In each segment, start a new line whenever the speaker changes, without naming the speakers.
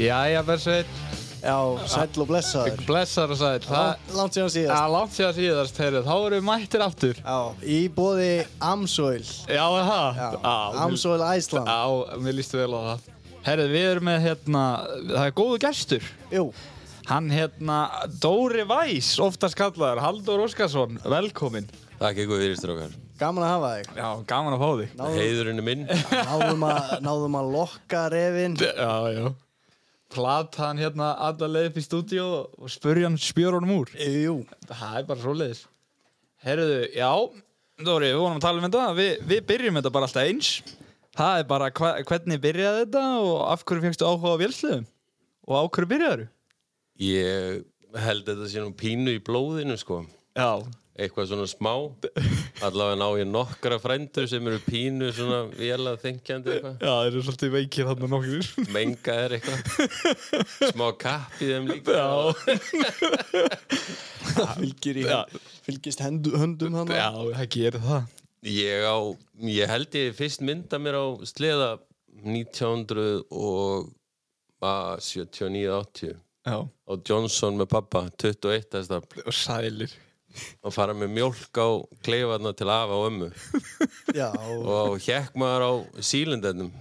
Jæja, Bersveit,
Já, sæll og blessaður.
blessar og sæl. Það
Lá- Langt síðan
það
síðast.
er langt síðan síðast, heyrðu, þá erum við mættir aftur.
Já, í bóði Amsoil.
Já, er það?
Já,
Á, mér-
Amsoil Æsland.
Á, mér líst vel á það. Herðu, við erum með, hérna, það er góðu gestur.
Jú,
Hann, hérna, Dóri Væs, oftast kallaður, Haldur Óskarsson, velkomin.
Takk ykkur fyrir strókar.
gaman að hafa þig.
Já, gaman að fá þig.
Náðum,
Heiðurinn er minn.
náðum, að, náðum að lokka refinn.
Já, já. Plata hann hérna alla leið upp í stúdíó og spurja hann spjör honum úr.
Jú,
Það er bara svoleiðis. Herruðu, já, Dóri, við vorum að tala um þetta. Við, við byrjum þetta bara alltaf eins. Það er bara hva, hvernig byrjaði þetta og af hverju fegstu áhuga á vélsliðum? Og á hverju byrjaði
Ég held þetta sé nú pínu í blóðinu sko.
Já.
Eitthvað svona smá. Allavega ná ég nokkra frændur sem eru pínu svona vélað þengjandi
Já,
eitthvað.
það eru svolítið veikir hann og nokkur.
Menga er eitthvað. Smá kapp í þeim líka.
Já,
fylgir í,
Já.
fylgist hendu, höndum hann.
já, það gerir það.
Ég á, ég held ég fyrst mynda mér á sleða 1900 og ah, 79-80
Já.
á Johnson með pappa, 21. stafl
Og sælir.
og fara með mjólk á kleifarna til afa og ömmu
Já,
og hjekk maður á sílindennum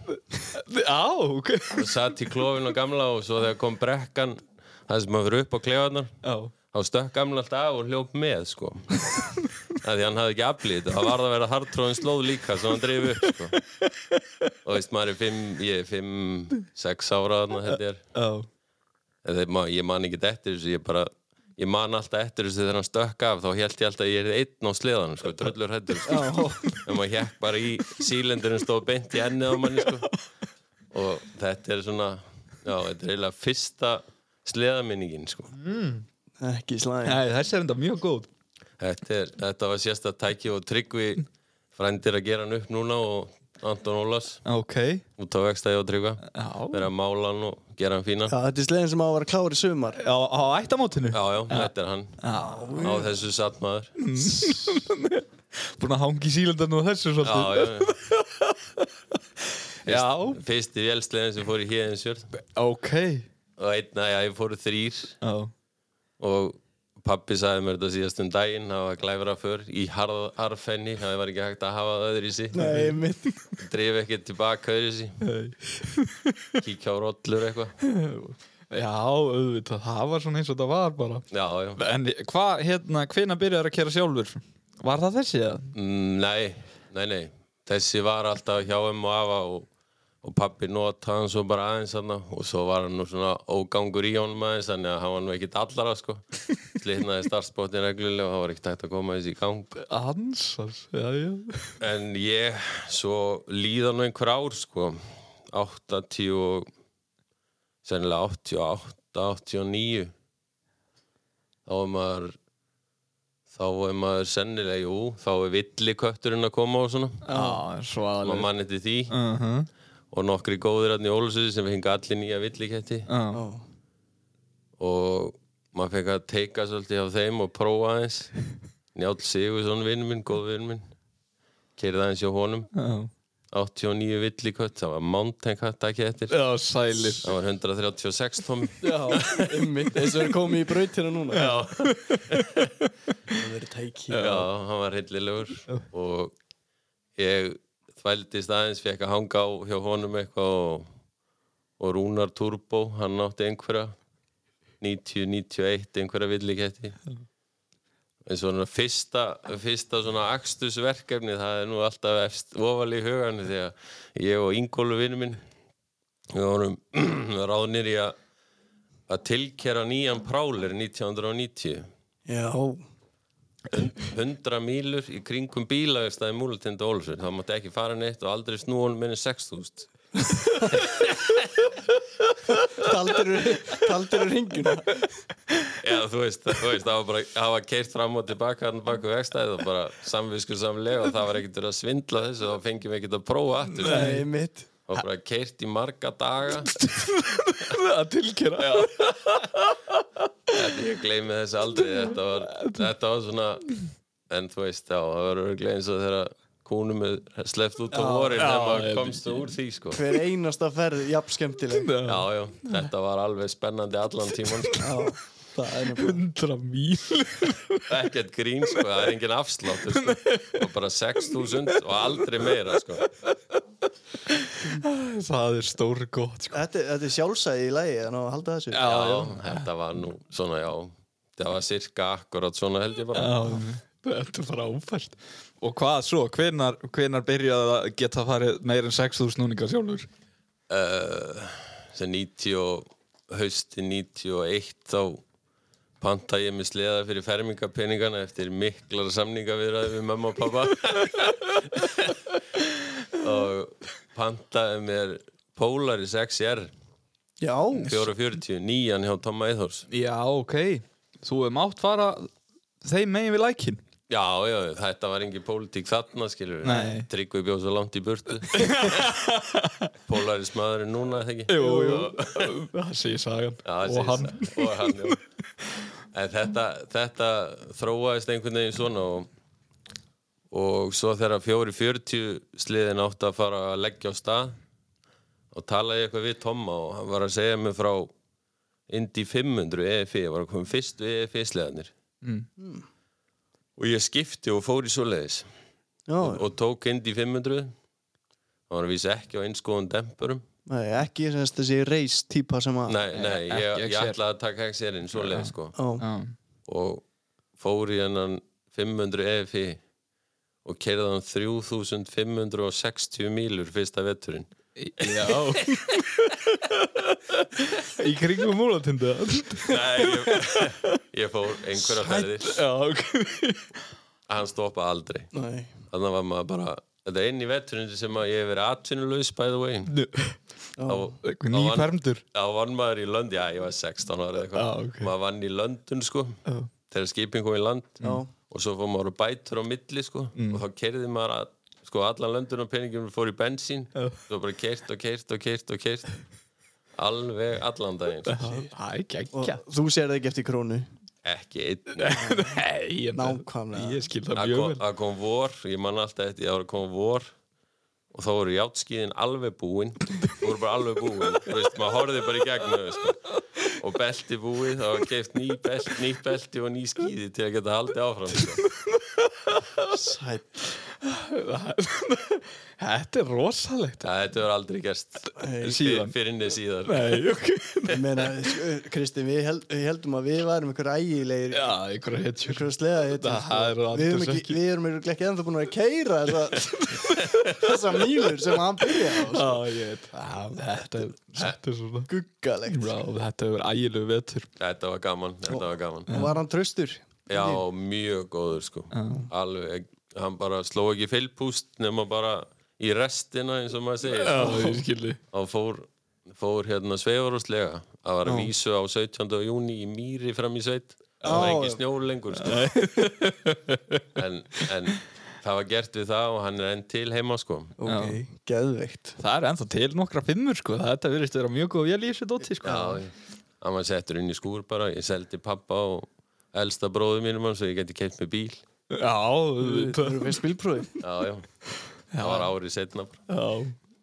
Já, ok.
og satt í klófin á gamla og svo þegar kom brekkan það sem maður fyrir upp á klefarnar
Já.
þá stökk gamla alltaf af og hljóp með sko að því hann hafði ekki aflít það varð að vera hardtróðin slóð líka sem hann dreif upp sko og veist maður er fimm, ég er fimm, sex ára þarna held ég er
Já.
En þeir, ma- ég man ekki eftir þessu ég bara ég man alltaf eftir þessu þegar hann stökk af þá held ég alltaf að ég er einn á sleðanum sko, dröllur hættur sko. en maður hjekk bara í sílendurinn stóð beint í ennið á manni sko. og þetta er svona já, þetta er eiginlega fyrsta sleðaminningin sko.
ekki slæm.
Nei, þessi er enda mjög góð.
þetta, er, þetta var sérsta tæki og tryggvi frændir að gera hann upp núna og Anton Ólas
Ok.
út á vegstæði og tryggva
Já.
vera að mála hann og gera hann fínan
Já, þetta er slegin sem á að vera klár í sumar.
Já, á ættamótinu?
já, já, þetta er hann
Já.
á þessu satt maður
Búin að hangi sílendan og þessu
já,
svolítið.
já, já
Já.
Fyrsti vélslegin sem fór í Híðinsjörn
Ok.
og einn að ég fór þrýr
Já.
og pappi sagði mér þetta síðast um daginn það var glæfra för í harð, harfenni það var ekki hægt að hafa það öðru í sí
Nei, mitt.
dreif ekki tilbaka öðru í sí kíkja á rollur eitthvað
Já, auðvitað. Það var svona eins og það var bara.
já, já,
En hvað, hérna, hvena byrjar að kera sjálfur? Var það þessi eða?
Mm, nei, nei, nei þessi var alltaf hjá um og afa og, og pappi notaði hann svo bara aðeins hann og svo var hann nú svona ógangur í honum aðeins þannig að hann var nú ekkit allara sko slitnaði starfsbóttin reglulega og það var ekkert hægt að koma þessi í gang
Ansars, já, já.
En ég, svo líðan og einhver ár, sko, 80, og- sennilega 88, 89, þá er maður, þá er maður sennilega, jú, þá er villikötturinn að koma og svona,
Já,
maður
svaðalega.
mann eftir því,
Uh-huh.
og nokkri góðir hann í Ólusuði sem fengi allir nýja villiketti,
Já.
og maður fekk að teika svolítið af þeim og prófa aðeins, Njáll Sigursson, vinn minn, góð vinn minn, kerði aðeins hjá honum,
Já.
89 villikött, það var mountain kött ekki eftir,
Já, sælir.
það var 136 tómi
Já, mitt. Þessu er komið í brautina núna. Já. Það verður tæki.
já, hann var hillilegur og ég þvældist aðeins, fekk að hanga á hjá honum eitthvað og, og Rúnar Turbo, hann átti einhverja 90, 91 einhverja villiketti en svona fyrsta, fyrsta svona akstusverkefni, það er nú alltaf efst ofal í hugan því að ég og Ingólu vinnu minn við vorum ráðnir í að að tilkera nýjan prálir 1990
Já,
100 mílur í kringum bílaverstaði múlutindu Ólfsveit það mátti ekki fara neitt og aldrei snú honum minni 6000
taldir úr ringuna.
eða þú veist, þú veist það var bara það var keirt fram og tilbaka hann baku vegstæði og bara samvisku samlega og það var ekkert verið að svindla þessu þá fengjum við ekkert að prófa aftur
Nei, mitt.
og bara keirt í marga daga
Að tilkera. Já.
Þetta- ég gleymi þessu aldrei þetta var, þetta var svona en þú veist já, það var örglega eins og þegar kúnu með sleft út á
Já,
vorin
já,
þegar maður
ég
komst úr því sko
Hver einasta ferð, jafn skemmtileg
Já, já, þetta var alveg spennandi allan tíman sko.
Já, það er nefnilega
100 míl
ekkert grín, sko, það er engin afslátt sko. og bara 6.000 og aldrei meira sko.
það er stór gott sko.
Þetta, þetta er sjálfsæði í lagi, þannig að halda þessu
já, þetta var nú svona, já það var cirka akkurat svona held ég bara
þetta er fráfært og hvað svo, hvenar, hvenar byrjaði að geta farið meir en 6.000 núninga sjálfur
uh, sem 90 og hausti 91 þá panta ég með sleða fyrir fermingapeningana eftir miklar samninga viðraði við mamma og pappa og pantaði mér Polaris XR
Já,
440, nýjan hjá Tomma Eithors
já, ok þú hefur mátt fara þeim megin við lækin
Já, já, þetta var engin pólitík þarna, skilur
Nei.
við Tryggvi bjóð svo langt í burtu Polaris maðurinn núna, eða ekki?
jú, jú. það sé sagan
Já,
og hann
segist það. og hann já. en þetta, þetta þróaðist einhvern veginn svona og, og svo þegar 440 sliðin átti að fara að leggja á stað og talaði ég eitthvað við Tomma og hann var að segja mér frá Indy 500 EFI, E, var að koma fyrstu EFI sliðanir E
Mm,
og ég skipti og fór í svoleiðis
já,
og tók Indy 500 og hann vísi ekki á einskoðum dempurum
nei, ekki semst þessi reis típa sem að
nei,
Ah, e-
nei,
ekki
ég, ég
XR.
ætlaði að taka XR-in svoleiðis sko
Ó,
já.
og fór í hennan 500 EFI og keirði hann 3560 mílur fyrsta vetturinn
Já Í kringum múlatindu
Nei, ég, ég fór einhverja ferðir
Já, ok
hann stoppaði aldrei
nei
þannig var maður bara þetta er inn í vetturinn sem að ég hef verið atvinnulaus by the way þá,
Einhver Ný
Já, hann-
fermdur
þá vann maður í lönd já, ég var 16 ára eða eitthvað
Já, ok.
maður vann í löndun sko þegar skipin kom í land
Já,
og svo fór maður á bætur á milli sko,
Mm.
og þá kerði maður að, sko, allan löndun og peningum fór í bensín svo bara kert og kert og kert og kert alveg allan daginn sko.
Það er
og
geggja
þú sér það ekki eftir krónu
ekki einn
Nei, en-
Nákvæmlega.
Ég skil það
það
mjög
kom,
vel
það kom vor, ég man alltaf eftir það var að koma vor og þá voru játskiðin alveg búin þú voru bara alveg búin þú veist, maður horfði bara í gegnum þau, sko. og belti búið, það var keift ný belti, nýtt belti og ný skíði til að geta haldið áfram sko.
Sæt
Þetta er rosalegt
það þetta var aldrei gerst
Síðan.
fyrir inni síðar
Nei, ok
Ég meina, sk- Kristín, við, held, við heldum að við værum einhver ægilegir
Já, einhverja hetjur
einhverja sleða heitum,
Það er
við erum
aldrei
ekki,
ekki.
við erum örugglega ekki ennþá búin að keira þessa, þessa mýlur sem hann byrja á sko.
Já, ég veit Já, Þetta er- þetta er svona
skuggalegt
Já, þetta hefur ægilegu vetur
Þetta var gaman, þetta var gaman
og var hann tröstur
Já, mjög góður sko Alveg, hann bara sló ekki fylgpúst nema bara í restina eins og maður segir
Já, ég skilji
og fór, fór hérna sveifarúslega að var að vísu á 17. júni í Mýri fram í sveit það var
Já.
ekki snjór lengur sko. en, en það var gert við það og hann er enn til heima sko
ok, geðveikt
Það er ennþá til nokkra fimmur, sko Þetta verðist að vera mjög góð vél í þessu dóti, sko
Já, hann var settur inn í skúr bara ég seldi pappa og elsta bróðu mínum hann svo ég geti keitt með bíl
Já,
Þú
auðvitað.
eru fyrst bílprófi
Já, já, það var árið setna bara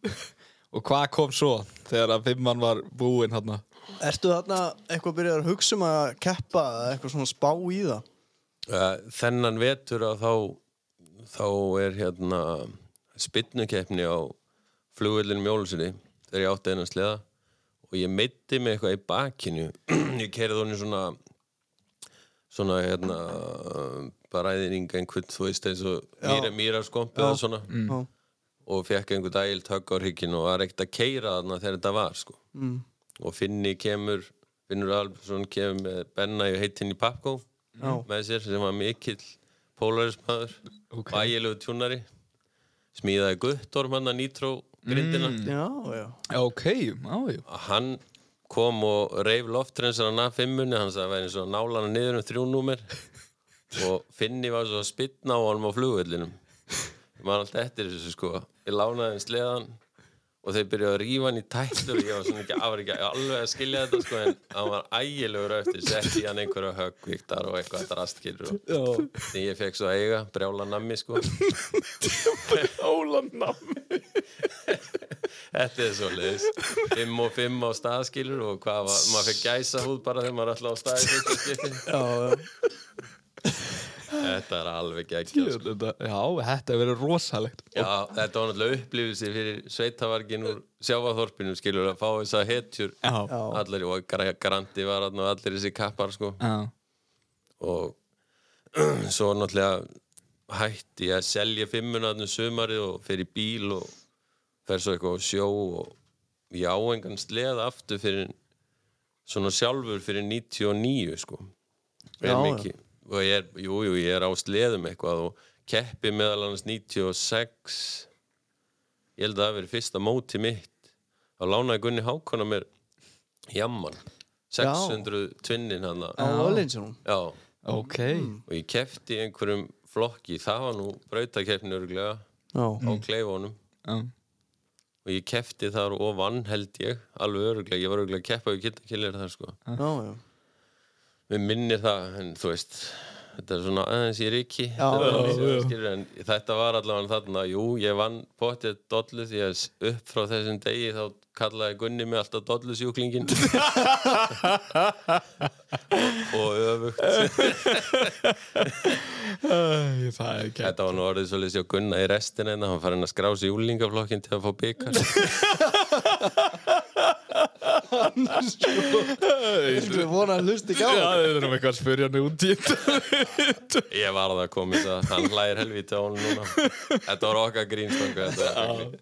Já Og hvað kom svo þegar að fimmann var búinn hann?
Ertu þarna eitthvað að byrja að hugsa um að keppa eða eitthvað svona spá í það?
Eh, þennan vetur að þá þá er hérna spinnukeppni á flugvöllinu mjólusinni þegar ég átti hennan sleða og ég meiti mig eitthvað í bakinu ég kerði honum svona svona hérna bara æðining einhvern þú veist eins og mýra, mýra eða svona
Mm.
og fekk einhvern dægild högg á hrygginu og var ekkert að keira þarna þegar þetta var sko. mm. og Finni kemur Finnur Albersson kemur með Benna í heitin í Papkó með sér sem var mikill polarismæður
Ok.
og ægilegu tjúnari smíðaði Guttorm hann að Nitro grindina
Já, já.
Ok, já, já.
hann kom og reif loftrensarinn af fimmunni hann sagði að væri eins og nálana niður um þrjúnúmer og Finni var svo að spytna á honum á flugvellinum ég man alltaf eftir þessu sko ég lánaði hann sleðan og og þeir byrjuðu að rífa hann í tætlur og ég var svona ekki, var ekki alveg að skilja þetta sko, en hann var ægilegur á eftir sett í hann einhverja höggvíktar og eitthvað drastkilur og
Já,
því ég fekk svo að eiga, brjála nammi sko
Óla nammi
þetta er svo leiðis 5 og 5 á staðskilur og hvað var, maður fekk gæsa húð bara þegar maður er alltaf á staðskilur
já, já.
þetta er alveg geggjað sko.
Já, þetta hefur verið rosalegt
Já, þetta var náttúrulega upplifisi fyrir sveitavargin úr sjávaþorpinu skilur að fá þess að hetjur
Já,
allir og Gra- Grandi var þarna og allir þessi kappar sko
já.
og svo náttúrulega hætti ég að selja fimmunarnu sumarið og fer í bíl og fer svo eitthvað á sjó og ég á engan sleð aftur fyrir svona sjálfur fyrir 99 sko
Já,
er
já.
mikið og ég er, jú, jú, ég er á sleðum eitthvað og keppi meðal annars 96 ég held að það hafi verið fyrsta móti mitt þá lánaði Gunni Hákona mér jamman 600 tvinnin hann
Á Ollinsson
já,
Ok
og ég kefti í einhverjum flokki, það var nú brautakeppni örglega
Já,
á kleifunum
Já.
og ég kefti þar og vann held ég alveg örglega, ég var örglega að keppa við kittakillir þar sko,
já, já
við minnir það en þú veist, þetta er svona aðeins í ríki
Já, já,
já.
skilur, en þetta var allavega þarna, jú ég vann pottið dollu því að s- upp frá þessum degi þá kallaði Gunni mig alltaf dollusjúklingin og, og öfugt
Æ, Það er ekki
Þetta var nú orðið svolítið sér Gunna í restina en hann farinn að skrá sig í úlingaflokkin til að fá byggar
Viltu vona að hlusti ekki á
Já, við þurfum eitthvað að spyrja hann út í þetta
Ég var að það komið það, hann hlægir helvítið á hann núna Þetta var okkar grínstöngu þetta var okkar grín.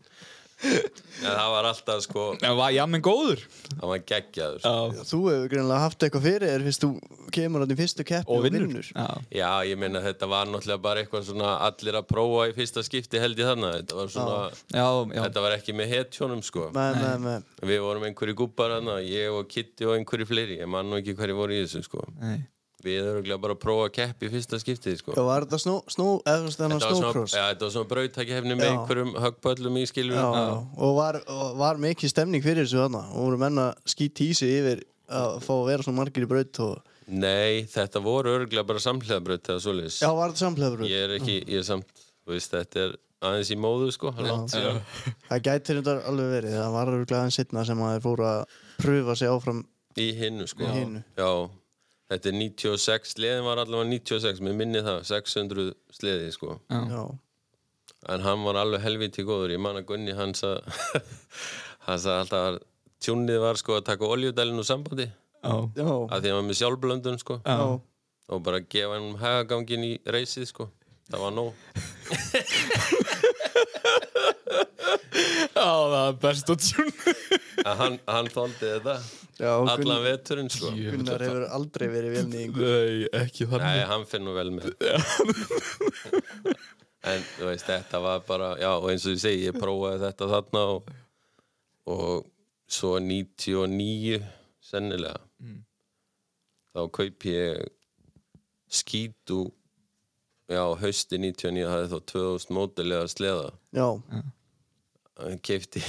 En það var alltaf sko,
En var jammin góður?
hann var geggjaður sko.
Já
Þú hefur greinlega haft eitthvað fyrir þér fyrst þú kemur hann í fyrstu keppi
Og vinnur Já
Já, ég meina þetta var náttúrulega bara eitthvað svona allir að prófa í fyrsta skipti held ég þarna Þetta var svona,
Já, já
þetta var ekki með hetjónum sko
Nei, nei, nei
Við vorum einhverju gúppar þarna, ég og Kitty og einhverju fleiri Ég man nú ekki hverju voru í þessu sko
Nei.
Við erum örugglega bara að prófa að keppa í fyrsta skipti sko
Já, var þetta snó, snó, eða þannig
Þetta var svona,
snókross
ja, þetta var svona brautakefni með
Já.
einhverjum höggböllum í skilur
Já, já, og var, og var mikið stemning fyrir þessu þarna og voru menna skýt í sig yfir að fá að vera svona margir í braut og
Nei, þetta voru örgulega bara samhliðabraut eða svoleiðis
já, var þetta samlega braut
Ég er ekki, ég er samt, þú veist, þetta er aðeins í móðu sko langt síðan.
það gæti þetta alveg verið það var örgulega aðeins setna sem að þeir fóru að pröfa sig áfram
Í hinnu sko
Í hinu.
Já, þetta er 96, sleðin var allavega 96, mér minni það, 600 sleði sko
já,
En hann var alveg helviti góður, ég man að Gunni hann sa, hann sa alltaf að tjúnið var sko að taka oljudælinu úr sambandi
Já
já,
að því hann var með sjálfblöndun sko
Já
já.
og bara gefa hann hagagangin í reysið sko það var nóg
Já, það er best að tjúna
En hann, hann þóldi þetta
já
allan
Gunnar,
veturinn sko
Gunnar hefur aldrei verið velning
Nei, ekki
nei,
þannig
hann finn nú vel með en þú veist, þetta var bara já, og eins og ég segi, ég prófaði þetta þarna og, og svo 99 sennilega þá kaup ég skítu já, hausti 99 hafði þá 2000 mótilega sleða
já,
keifti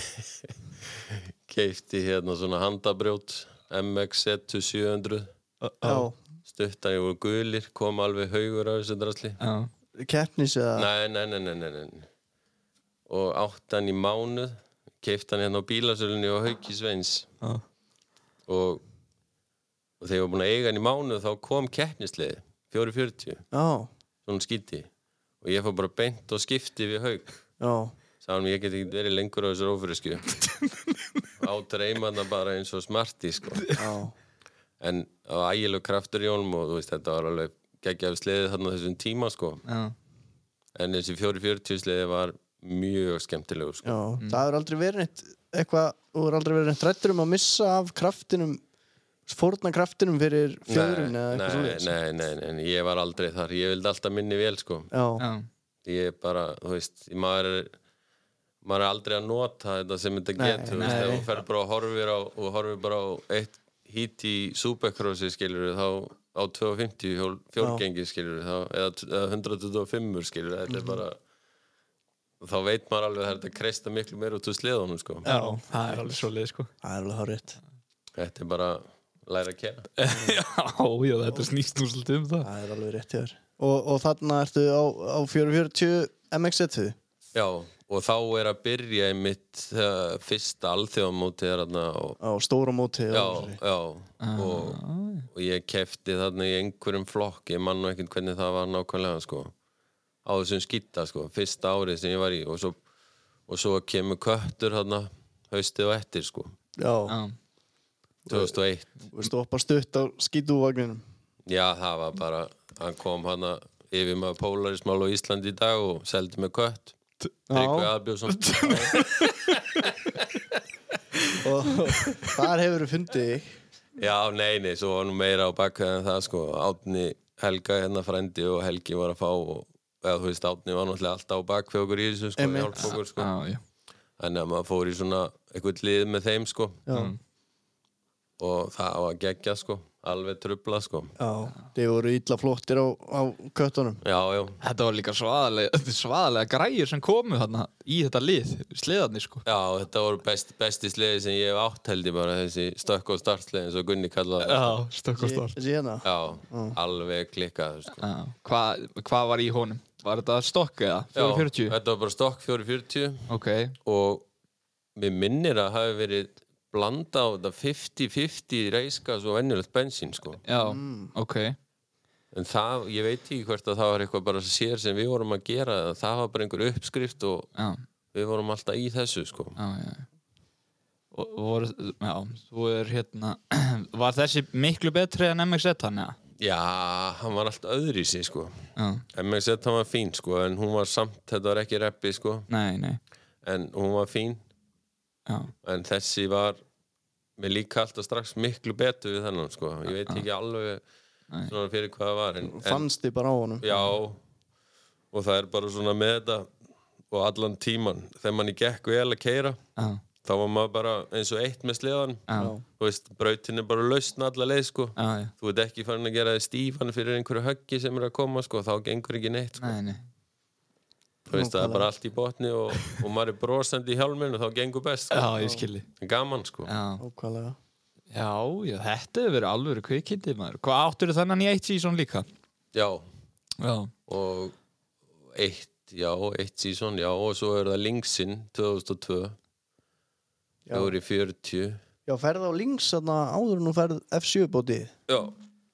keifti hérna svona handabrjót MX 700
já,
stuttan ég voru gulir kom alveg haugur af þessu drasli
Já
keppnis eða
nei, nei, nei, nei, nei, nei og áttan í mánuð keifti hann hérna á bílasölunni og hauki sveins
Já
og, og þegar ég var búin að eiga hann í mánuð þá kom keppnisliði 440,
já,
svona skíti og ég fór bara beint og skipti við haug
já,
Sáum ég get ekki verið lengur á þessu rófyriskju Át reymana bara eins og smarti sko.
já
En það var ægileg kraftur í honum og þú veist, þetta var alveg geggjaf sleðið þarna á þessum tíma sko.
Já
En þessi 440 sleðið var mjög skemmtilegur sko.
Já, það hefur aldrei verið neitt eitthvað, þú hefur aldrei verið neitt rættur um að missa af kraftinum fórna kraftinum fyrir fjöðrun eða
nei,
eitthvað
nei,
svoleiðis.
nei, nei, nei, ég var aldrei þar Ég vildi alltaf minni vel sko.
Já,
Já
Ég er bara, þú veist, maður er maður er aldrei að nota þetta sem þetta
Nei,
getur, þú veist,
nei.
ef þú fer bara og horfir á, og horfir bara á eitt hít í supercrossi skilur þá á 250 hjól fjórgengi skilur þá, eða, eða 125 skilur þetta er bara og þá veit maður alveg að það er hægt að kreista miklu meira út úr sleðunum sko.
Já, það er alveg svo leið sko
Það er alveg horrið
Þetta er bara að læra að kera.
Já, já, þetta snýst nú svolítið um það
Það er alveg rétt hjá þér og, og þarna ertu á, á 440 MX-1
Já, og þá er að byrja einmitt uh, fyrsta alþjóðamótið er þarna og
á stóra móti
Já,
og-
já, og, og ég kefti þarna í einhverjum flokk, ég mann nú ekkert hvernig það var nákvæmlega, sko, á þessum skýta, sko, fyrsta árið sem ég var í og svo, og svo kemur köttur þarna haustið og eftir, sko,
Já,
Já,
2001.
og stoppa stutt á skítúvagninum
Já, það var bara, hann kom hana yfir maður Polarismál á Íslandi í dag og seldi með kött. Tryggvi
Já,
Albjörnsson.
og þar hefur þú fundið þig
Já, nei, nei, svo var nú meira á bakveð en það, sko, Átni Helga hérna frændi og Helgi var að fá og, eða þú veist, Átni var náttúrulega alltaf á bakveð okkur í þessu, sko,
Einmitt.
hjálp okkur, sko.
já, já
Þannig að maður fór í svona eitthvað lið með þeim, sko,
Já,
og það var geggja, sko, alveg trubla, sko.
já, þeir voru illa flottir á, á köttunum
Já, já,
Þetta var líka svaðalega, svaðalega græjur sem komu þarna í þetta lið, sliðarni sko.
já, þetta voru best, besti sliði sem ég hef átt held ég bara, þessi stökk og startsliði eins og Gunni kallaði. það.
Já, stökk og stort.
Þessi hérna
Já, alveg klikkað sko.
Hvað var í honum? Var þetta stokk eða?
Já,
440?
Þetta var bara stokk 440
Ok,
og mér minnir að hafi verið blanda á þetta 50-50 reiskas og venjulegt bensín sko.
já, ok.
en það, ég veit ekki hvort að það var eitthvað bara sér sem við vorum að gera eða það var bara einhver uppskrift og
Já,
við vorum alltaf í þessu sko.
já, já. Og voru, já, þú er hérna, var þessi miklu betri en MX1 hann eða?
já, hann var alltaf öðri í sig sko.
Já,
MXZ hann var fín sko, en hún var samt, þetta var ekki reppi sko,
nei, nei,
en hún var fín
já,
en þessi var mér líka alltaf strax miklu betur við þennan sko. ég veit ekki alveg
Nei.
svona fyrir hvað það var en, en
Fannst þið bara á honum
já og það er bara svona með þetta og allan tíman þegar manni gekk vel að keira
já,
þá var maður bara eins og eitt með sleðan
já,
þú veist, brautin er bara lausn alla leið sko.
já, já,
þú ert ekki farin að gera þig stífan fyrir einhverju höggi sem er að koma sko. þá gengur ekki neitt sko.
nei, nei,
þú veist, það er bara allt í botni og, og maður er brosandi í hjálminu þá gengur best sko.
já, ég skilji,
gaman sko
já.
Ókvæðlega
Já, já, þetta hefur verið alvöru kvikindi maður. Hvað áttur þannan í eitt sísón líka?
já
Já,
og eitt, já, eitt sísón, já og svo er það Lynxin 2002
Já.
það voru í 40
Já, ferð á links þarna áður en þú ferð F7 bótið
já,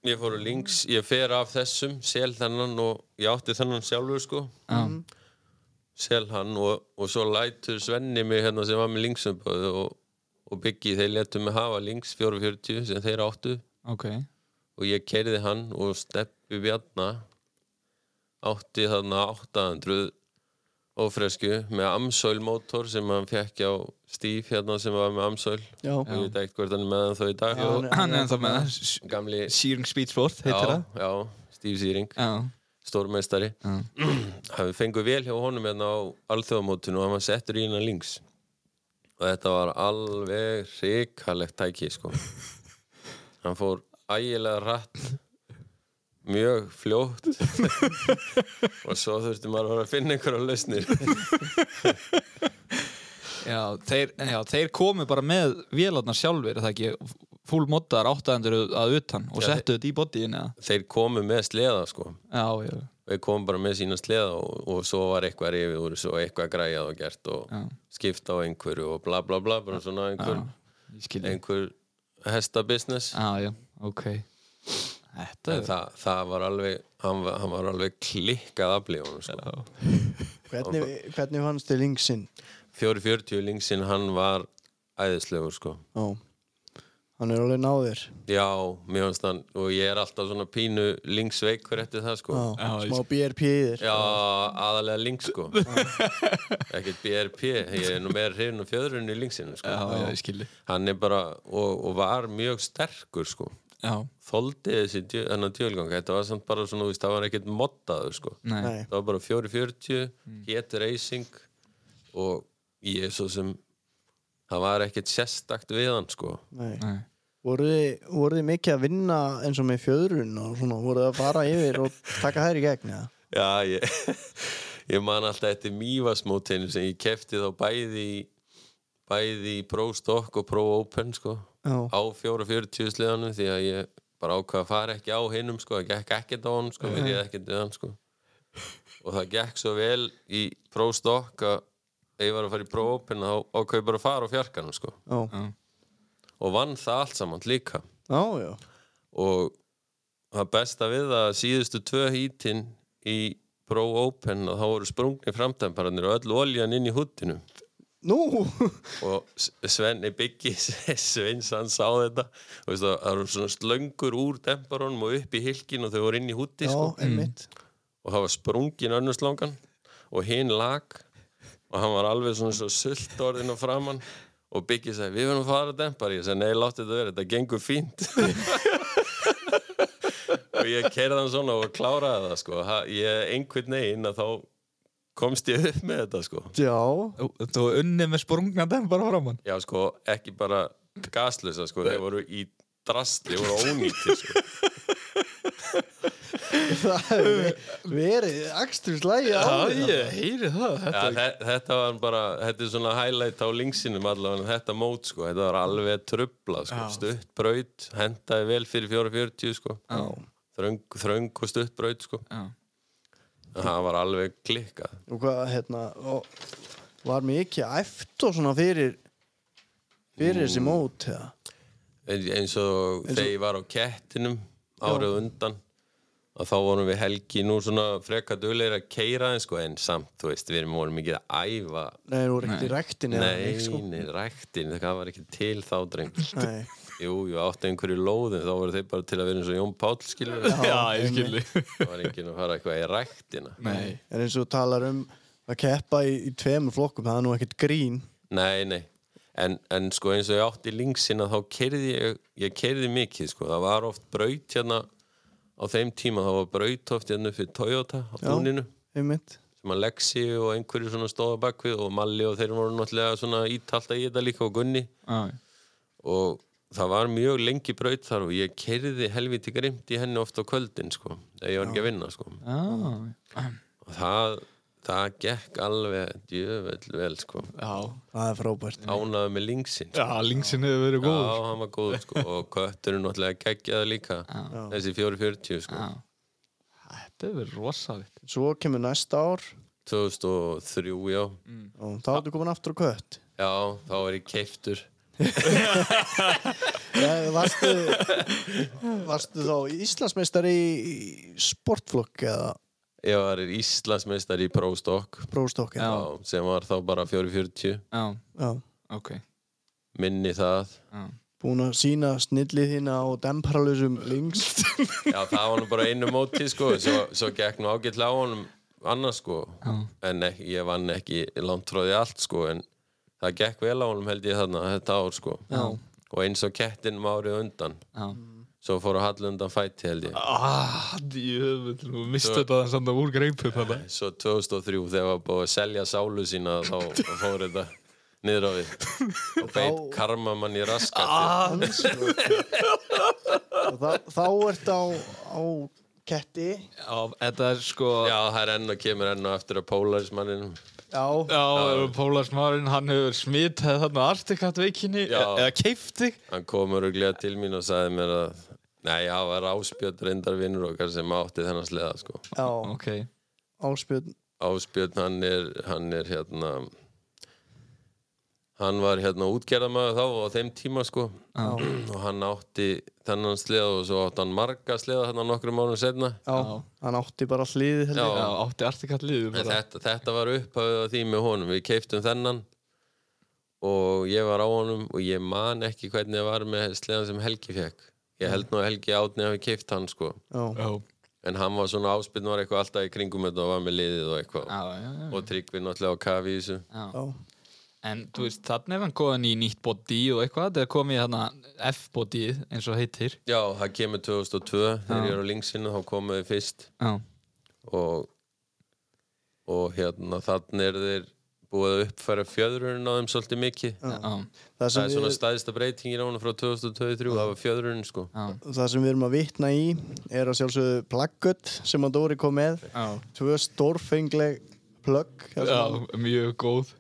ég fór á Lynx, ég fer af þessum sel þennan og ég átti þennan sjálfur sko
já,
Mm.
sel hann og, og svo lætur Svenni mig hérna sem var með Lynxumböð og, og Biggi, þeir letu mig hafa Lynx 440 sem þeir áttu
ok.
og ég keiriði hann og steppi Bjarna átti þarna 800 ófresku með Amsoil mótor sem hann fekk á Steve hérna sem var með Amsoil
Já,
og ég veit ekkert hvort hann er með hann þau í dag
Já,
Og hann er ennþá með það, S-
gamli
Searing Speedsport heitir
já,
það.
já, Steve Sýring,
Já,
stórmeistari
Já.
hann fengur vel hjá honum hérna á alþjóðamótinu og hann var settur í hennar links og þetta var alveg hrikalegt tæki sko hann fór ægilega rætt mjög fljótt og svo þurfti maður að vera að finna einhverja lausnir
já, þeir, já, þeir komu bara með vélarnar sjálfur, er það ekki, full moddaðar áttaðendur að utan og
Já,
settu þetta í boddíin eða?
þeir komu með sleða sko
Já, já,
þeir komu bara með sína sleða og, og svo var eitthvað rifið úr þessu og eitthvað græjað og gert og
Já.
skipt á einhverju og bla bla bla bara svona einhver,
ég skilji.
einhver hestabusiness
Já, já, ok. Þetta
en
er...
það, það var alveg hann var, hann var alveg klikkað afli á honum sko.
hvernig, hvernig fannst þið linksinn?
440 lingsinn hann var æðislegur sko
Já, hann er alveg náðir
já, mér finnst hann og ég er alltaf svona pínu lingsveikur eftir það sko
Já,
Já, ég
smá BRP-ir
Já, aðalega links sko ekkert BRP ég er nú meira hrifin á fjöðrunni í linksinu sko.
Já, já, ég skilji.
hann er bara og, og var mjög sterkur sko
Já,
þoldi þessi djö, þennan djölgang þetta var samt bara svona, þú veist, það var ekkert moddaður sko
nei,
Nei,
það var bara 440 hét racing og ég er svo sem það var ekkert sérstakt við hann sko
nei
nei.
Voruð þið, voru þið mikið að vinna eins og með fjöðrun og svona, voruð þið að fara yfir og taka þær í gegn eða?
já ég, ég man alltaf eftir mývasmótinu sem ég kefti þá bæði í bæði í Pro Stock og Pro Open sko,
Já.
á 440 sleðanum því að ég bara ákvað að fara ekki á hinnum sko, það gekk ekkert á hann sko, við réð ekkert við hann sko og það gekk svo vel í Pro Stock að ef ég var að fara í Pro Open þá ákvað ég bara að fara á fjarkanum sko
Já,
og vann það allt saman líka
já, já.
og það besta við það að síðustu tvö hítin í Pro Open að þá voru sprungni framtempararnir og öll oljan inn í húttinu
Nú,
og S- Svenni Byggi Sveins hann sá þetta og veist það, það eru svona slöngur úr demparónum og upp í hilkin og þau voru inn í hútti
já,
sko.
einmitt.
og það var sprungin önnur slangan og hinn lag og hann var alveg svona svo sult orðin og framann og Byggi sagði við verðum að fara að dempar ég sagði nei láttu þetta verið, þetta gengur fínt og ég kerði hann svona og kláraði það sko. Ha- ég einhvern veginn að þá komst ég upp með þetta sko.
Já,
Þú- Þú unnið með sprungna dem bara framann
Já, sko, ekki bara gaslösa, sko, þeir voru í drastli, voru ónýttir, sko.
það hefur verið axturslægi á því.
ég heyri það
Ja, þe- þetta var bara, þetta er svona highlight á linksinum allavega, en þetta mót, sko, þetta var alveg trubla, sko, stutt braut, hendaði vel fyrir 440, sko,
Já.
þröng, þröng og stutt braut, sko, það var alveg klikkað.
Og hvað, hérna, og var mikið æft og svona fyrir, fyrir þessi mót, eða?
En, eins og þegar ég var á kettinum árið undan að þá vorum við helgi nú svona freka duglegir að keira en sko en samt, þú veist, við vorum ekki að æfa
Nei, það voru ekkert í rektinni. eða
Nei,
neitt, sko.
nei, ræktin, það var ekki til þá dreng
Nei.
Jú, jú, áttu einhverju lóðin þá voru þeir bara til að vera eins og Jón Páll skilur
Já, ég skilji
það var enginn að fara eitthvað í ræktina
Nei,
En eins og þú talar um að keppa í, í tveimur flokkum, það er nú ekkert grín.
Nei, nei, en, en sko eins og ég átti linksina þá kerði ég ég kerði mikið, sko, það var oft braut hérna á þeim tíma það var braut oft hérna upp fyrir Toyota á túninu
Einmitt.
sem að Lexi og einhverju svona stóða bakvið og Malli og þeir voru náttúrulega svona ítalta í þetta líka og Gunni
já,
og það var mjög lengi braut þar og ég kerði helviti grimt í henni oft á kvöldin sko, þegar ég var ekki að vinna sko
já,
og það, það gekk alveg djöfell vel sko
já.
Það er frábært.
ánaði með lingsinn sko.
Já, linksin hefur verið
já,
góð
hann var góð sko og kötturinn náttúrulega geggjaði líka þessi 440 sko
Þetta hefur verið rosalit
Svo kemur næsta ár
2003 já
og þá ertu komin aftur á kött.
já, þá var ég keiftur
Nei, Varstu, varstu þá Íslandsmeistari í í sportflokk eða
ég var Íslandsmeistar í Próstokk
bróstokk?
Já.
sem var þá bara 440
Já,
Já.
ok
minni það
já.
Búin að sína snillið þína á demparalösum lengst.
Já, það var nú bara einu móti, sko Svo, svo gekk nú ágætlega á honum annars, sko En ekki, ég vann ekki langt frá því allt, sko En það gekk vel á honum, held ég þarna, þetta ár, sko Já. Og eins og kettinum árið undan
Já.
Svo fór að halla undan fæti, held ég
Ah, djöfull, þú misti þetta þannig samt að úr greipu þetta
Svo 2003, þegar var búið að selja sálu sína Þá þá fór þetta niður á við Og beit karmamann í raskat
Ah. og þá, þá ert á, á ketti.
Já, þetta er sko
Já, það er enn og kemur enn og eftir að Polarismanninum
Já.
Já, Pólarsmárin, hann hefur smitað þarna Artikat veikinni
Já.
eða keifti
hann kom öruglega til mín og sagði mér að Nei, það var Ásbjörn reyndar vinnur okkar sem átti þennan sleða sko.
Já,
Ok,
áspjörn.
Ásbjörn, hann er, hann er hérna hann var hérna útgerðamaður þá á þeim tíma sko og hann átti þennan sleða og svo átti hann marga sleða þarna nokkrum mánum setna
Já. Hann átti bara hliðið held
Já,
ég.
já, átti Artikat liður bara
þetta, þetta var upphafið að því með honum við keiftum þennan og ég var á honum og ég man ekki hvernig það var með sleðan sem Helgi fekk ég held nú að Helgi átni hafi keift hann sko
Já.
Já,
En hann var svona áspinn var eitthvað alltaf í kringum þetta og var með liðið og eitthvað
já, já, já,
og Tryggvi náttúrulega á kafi í þessu
já.
Já.
En þú veist, þannig er hann góðan í nýtt body og eitthvað, þetta er komið þarna F-body eins og heitir
Já, það kemur 2002 þegar ég er á linksinu þá komu þið fyrst
Já,
og, og hérna þannig er þeir búið að uppfæra fjöðrun á þeim svolítið mikið
já,
Það
Það
sem,
er svona
við,
staðista breytingin á hann frá 2023 það var fjöðrun sko
já,
það sem við erum að vitna í er að sjálfsögðu plaggött sem að Dóri kom með.
já.
Tvö stórfengleg plugg þar sem hann-
Já, mjög góð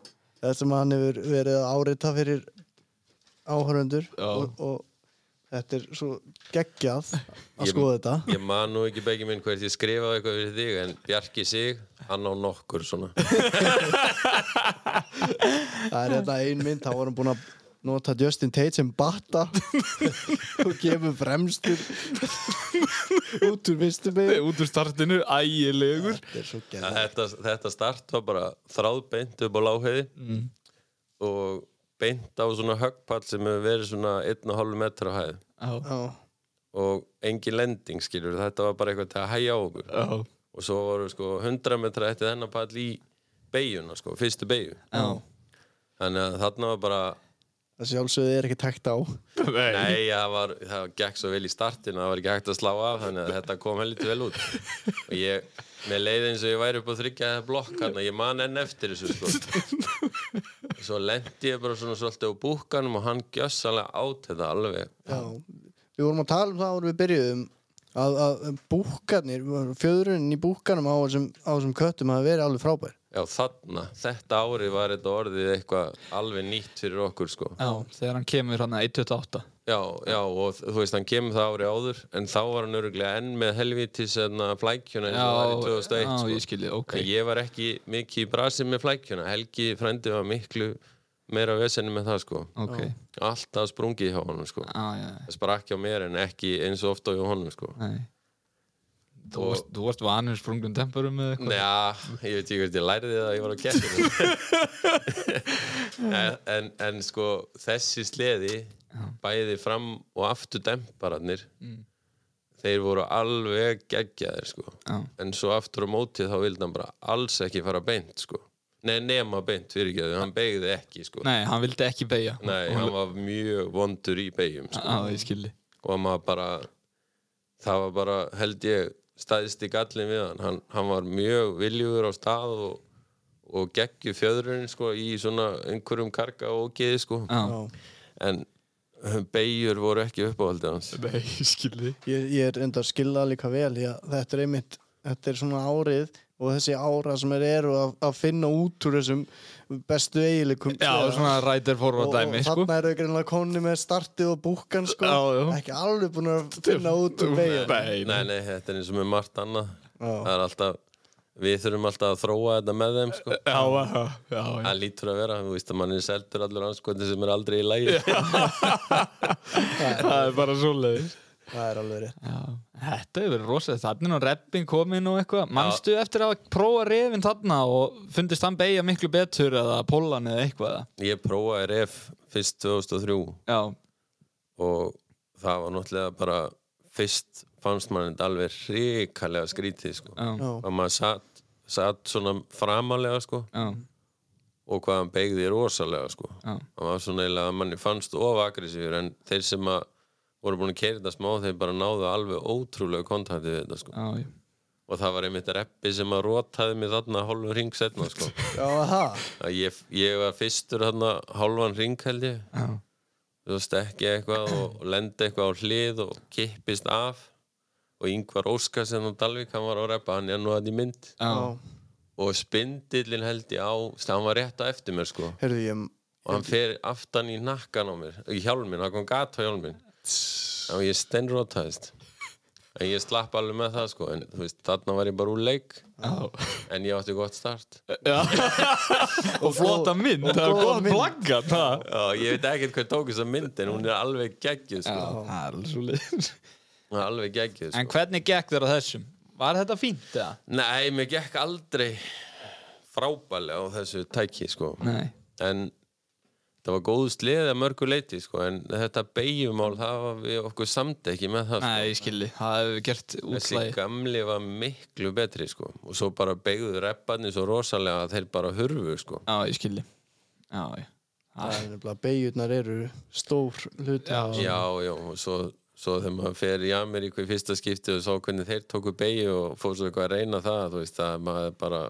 þar sem hann hefur verið að árita fyrir áhörundur
Já.
og, og þetta er svo geggjað að
Ég-
skoða þetta
Ég man nú ekki beggi minn hvert ég skrifaði eitthvað fyrir þig en Bjarki sig, hann á nokkur svona
það er þetta ein mynd, þá var hann búinn að nota Justin Tate sem batta og gefur fremstur út úr vistu mig
Út úr startinu, ægilegur
þetta er svo geggjað
þetta, þetta start var bara þráðbeint upp á láheiði og beint á svona höggpall sem hefur verið svona 1,5 metra á hæð
Já,
Já.
og engin lending skilur þetta var bara eitthvað til að hæja á okkur
já,
og svo voru sko 100 metra eftir þennan pall í beiguna sko, fyrstu beigu
já
þannig að þarna var bara
það sjálfsögði er ekki takt á
Nei,
nei, það var, það gekk svo vel í startinu það var ekki hægt að slá af, þannig að þetta kom helviti vel út og ég, með leið eins og ég væri upp á þryggja blokk hann ég man enn eftir þessu sko svo lendi ég bara svona svolítið á búkanum og hann gjössalega át þetta alveg
Já. við vorum að tala um það áður við byrjuðum að, að búkarnir fjöðrunin í búkarnum á þessum, á þessum köttum hafa verið alveg frábær
já, þarna, þetta árið var þetta orðið eitthvað alveg nýtt fyrir okkur sko
já, þegar hann kemur hann að 1.28
Já, já, og þú veist, hann kemur það ári áður en þá var hann öruglega enn með helvítis enna flækjuna eins og var í 2001
já,
sko.
ég skilji, ok
En ég var ekki mikið í brasi með flækjuna Helgi frændi var miklu meira vesenni með það sko
Ok, já,
Alltaf sprungið hjá honum sko
já,
Það sprakk hjá mér en ekki eins og ofta hjá honum sko
nei Þú
Og-
varst, þú varst vanur sprungum tempurum eða eitthvað
Já, ég veit ekki hvort ég læriði það að ég var á kettinu en, en, en sko þessi sleði bæði fram og aftur dempararnir
Mm.
þeir voru alveg geggjaðir sko
Já.
en svo aftur á móti þá vildi hann bara alls ekki fara beint sko Nei, nema beint, fyrir ekki hann beigði ekki sko
Nei, hann vildi ekki beigja
Nei, hann var mjög vondur í beigjum sko.
Já, ég skilji
og maður bara það var bara held ég staðist í gallin við hann hann, hann var mjög viljugur á stað og, og geggju fjöðrunin sko, í svona einhverjum karga og geði sko.
Já,
en beigjur voru ekki uppáhaldið hans
nei, ég skilji
ég, ég er enda að skilja líka vel ég, þetta er einmitt, þetta er svona árið og þessi ára sem er eru að, að finna út úr þessum bestu eiginleikum
Já,
þeirra.
svona rætir
og,
forvart
og
dæmi, sko
þarna eru greinlega konni með startið og búkan sko,
Já, já.
ekki alveg búin að finna út úr veginn
Nei,
nei, nei, þetta er eins og með margt annað það er alltaf, við þurfum alltaf að þróa þetta með þeim sko.
Já, já, já, já
það lítur að vera, þú veist að mann er seldur allur anskotin sem er aldrei í lægi
Það er bara svo leiðis
það er alveg rétt
Já, þetta hefur verið rosalega þannig og reppin komin og eitthvað Manstu eftir að prófa refin þarna og fundist hann beigja miklu betur eða pollan eða eitthvað eða?
ég prófaði ref fyrst 2003
Já,
og það var náttúrulega bara fyrst fannst mann þetta alveg hrikalega skrítið sko.
já,
Já.
og maður satt, satt svona framalega sko,
já,
og hvað hann beigði rosalega sko.
Já.
og maður svona eiginlega að manni fannst of aggressífur en þeir sem að voru búin að keira þetta smá þeir bara náðu alveg ótrúlega kontaktið við þetta sko.
já, já.
og það var einmitt reppi sem að rótaði mig þarna hálfum ring setna sko.
já, það,
að ég, ég var fyrstur þarna hálfan ring held ég
já.
þú stekki eitthvað og lendi eitthvað á hlið og kippist af og yngvar Óskar sem á Dalvik hann var á reppa, hann er nú að í mynd
já.
já,
og spindillin held ég á hann var rétt á eftir mér sko
heyrðu ég
og hann fer aftan í nakkan á mér í hjálmin, hann kom gat á hjálmin og ég steinrótaðist en ég slapp alveg með það sko en þú veist, þarna var ég bara úr leik en ég átti gott start
Og flotta mynd, það er
góða
gott
mynd.
plagga það
og ég veit ekkert hvað tók þess að mynd en hún er alveg geggjuð sko
það er alveg svo leiðis
hún er alveg geggjuð sko
En hvernig gekk þér á þessum? Var þetta fínt eða?
Nei, mér gekk aldrei frábælega á þessu tæki sko.
Nei
en það var góð sleið að mörgu leiti sko. en þetta beigjumál það var við okkur samt ekki með það sko.
Nei, ég skilji, það hefur gert
þessi
útlæði
gamli var miklu betri sko. og svo bara beigðu repparnir svo rosalega að þeir bara hurfu sko.
Já, ég skilji Já, já
það er nefnilega beigjurnar eru stór hluti
Já.
já, já, og svo, svo þegar maður fer í Ameríku í fyrsta skipti og sá hvernig þeir tóku beigju og fór svo eitthvað að reyna það þú veist, það maður bara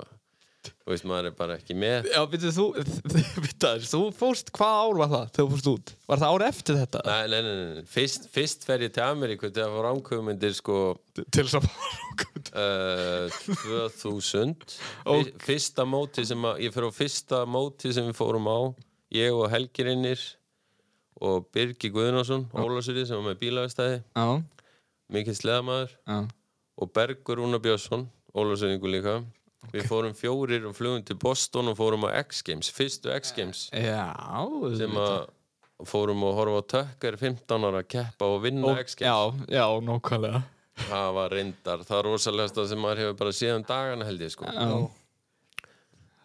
þú veist, maður er bara ekki með
Já, veitu, þú, veitu, þú fórst, hvað ár var það þegar þú fórst út? Var það ár eftir þetta?
Nei, nei, nei, nei. Fyrst, fyrst fer ég til Ameríku til að fá rámkvömyndir sko
Til þess að fara
uh, 2000
Ok.
Fyr- Fyrsta móti sem að, ég fer á fyrsta móti sem við fórum á ég og Helgirinnir og Birgi Guðnason Ólásuri sem var með bílaðastæði
Já,
mikið sleðamaður
já,
og Bergur Rúna Björnsson Ólásuringu líka Við fórum fjórir og flugum til Boston og fórum á X Games, fyrstu X Games
já
sem að fórum og horfa á tökkar 15 ára að keppa og vinna
og,
X Games
Já, já, nákvæmlega
það var reyndar, það er rosalegasta sem maður hefur bara síðan dagana held ég sko
Já,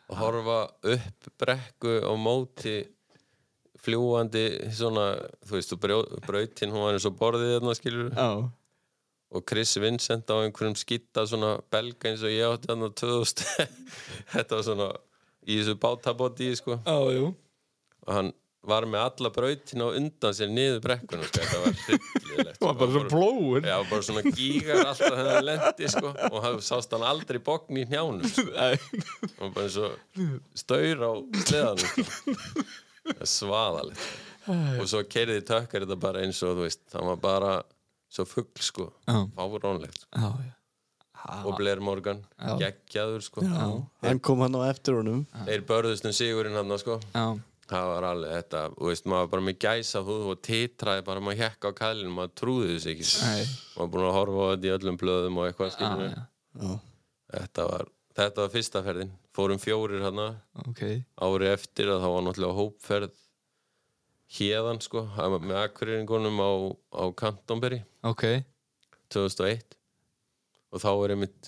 að horfa upp brekku á móti fljúandi svona, þú veist, þú brjó- brautin hún var eins og borðið þarna skilur
já,
og Chris Vincent á einhverjum skitta svona belga eins og ég átti hann á 2000 þetta var svona í þessu bátabóti sko
já, jú
og hann var með alla brautin á undan sér niður brekkunum sko. þetta var hryllilegt
Það var bara svo blóin
Já, bara svona gígar alltaf þegar hann lendi sko og hann sást hann aldrei bókn í hnjánum sko. hann var bara eins og staur á sleðanum sko. Það er svaðalegt sko. og svo keiriði tökkar þetta bara eins og þú veist, hann var bara svo fugl sko,
Já.
fáránlegt sko.
Já, já
og Blair Morgan, geggjaður sko
Hann kom hann á eftir honum
þeir börðust um sigurinn hann sko
Já,
það var alveg þetta, þú veist, maður var bara með gæsa húð og titraði bara, maður hekka á kælinu maður trúði þessu ekki sko.
Nei.
maður var búin að horfa á þetta í öllum blöðum og eitthvað skilur
Ah, já.
Já.
þetta var, þetta var fyrsta ferðin fórum fjórir hann
ok
ári eftir að það var náttúrulega hópferð hérðan sko að- með akkuriringunum á, á Kantonberry
Ok,
2001 og þá er einmitt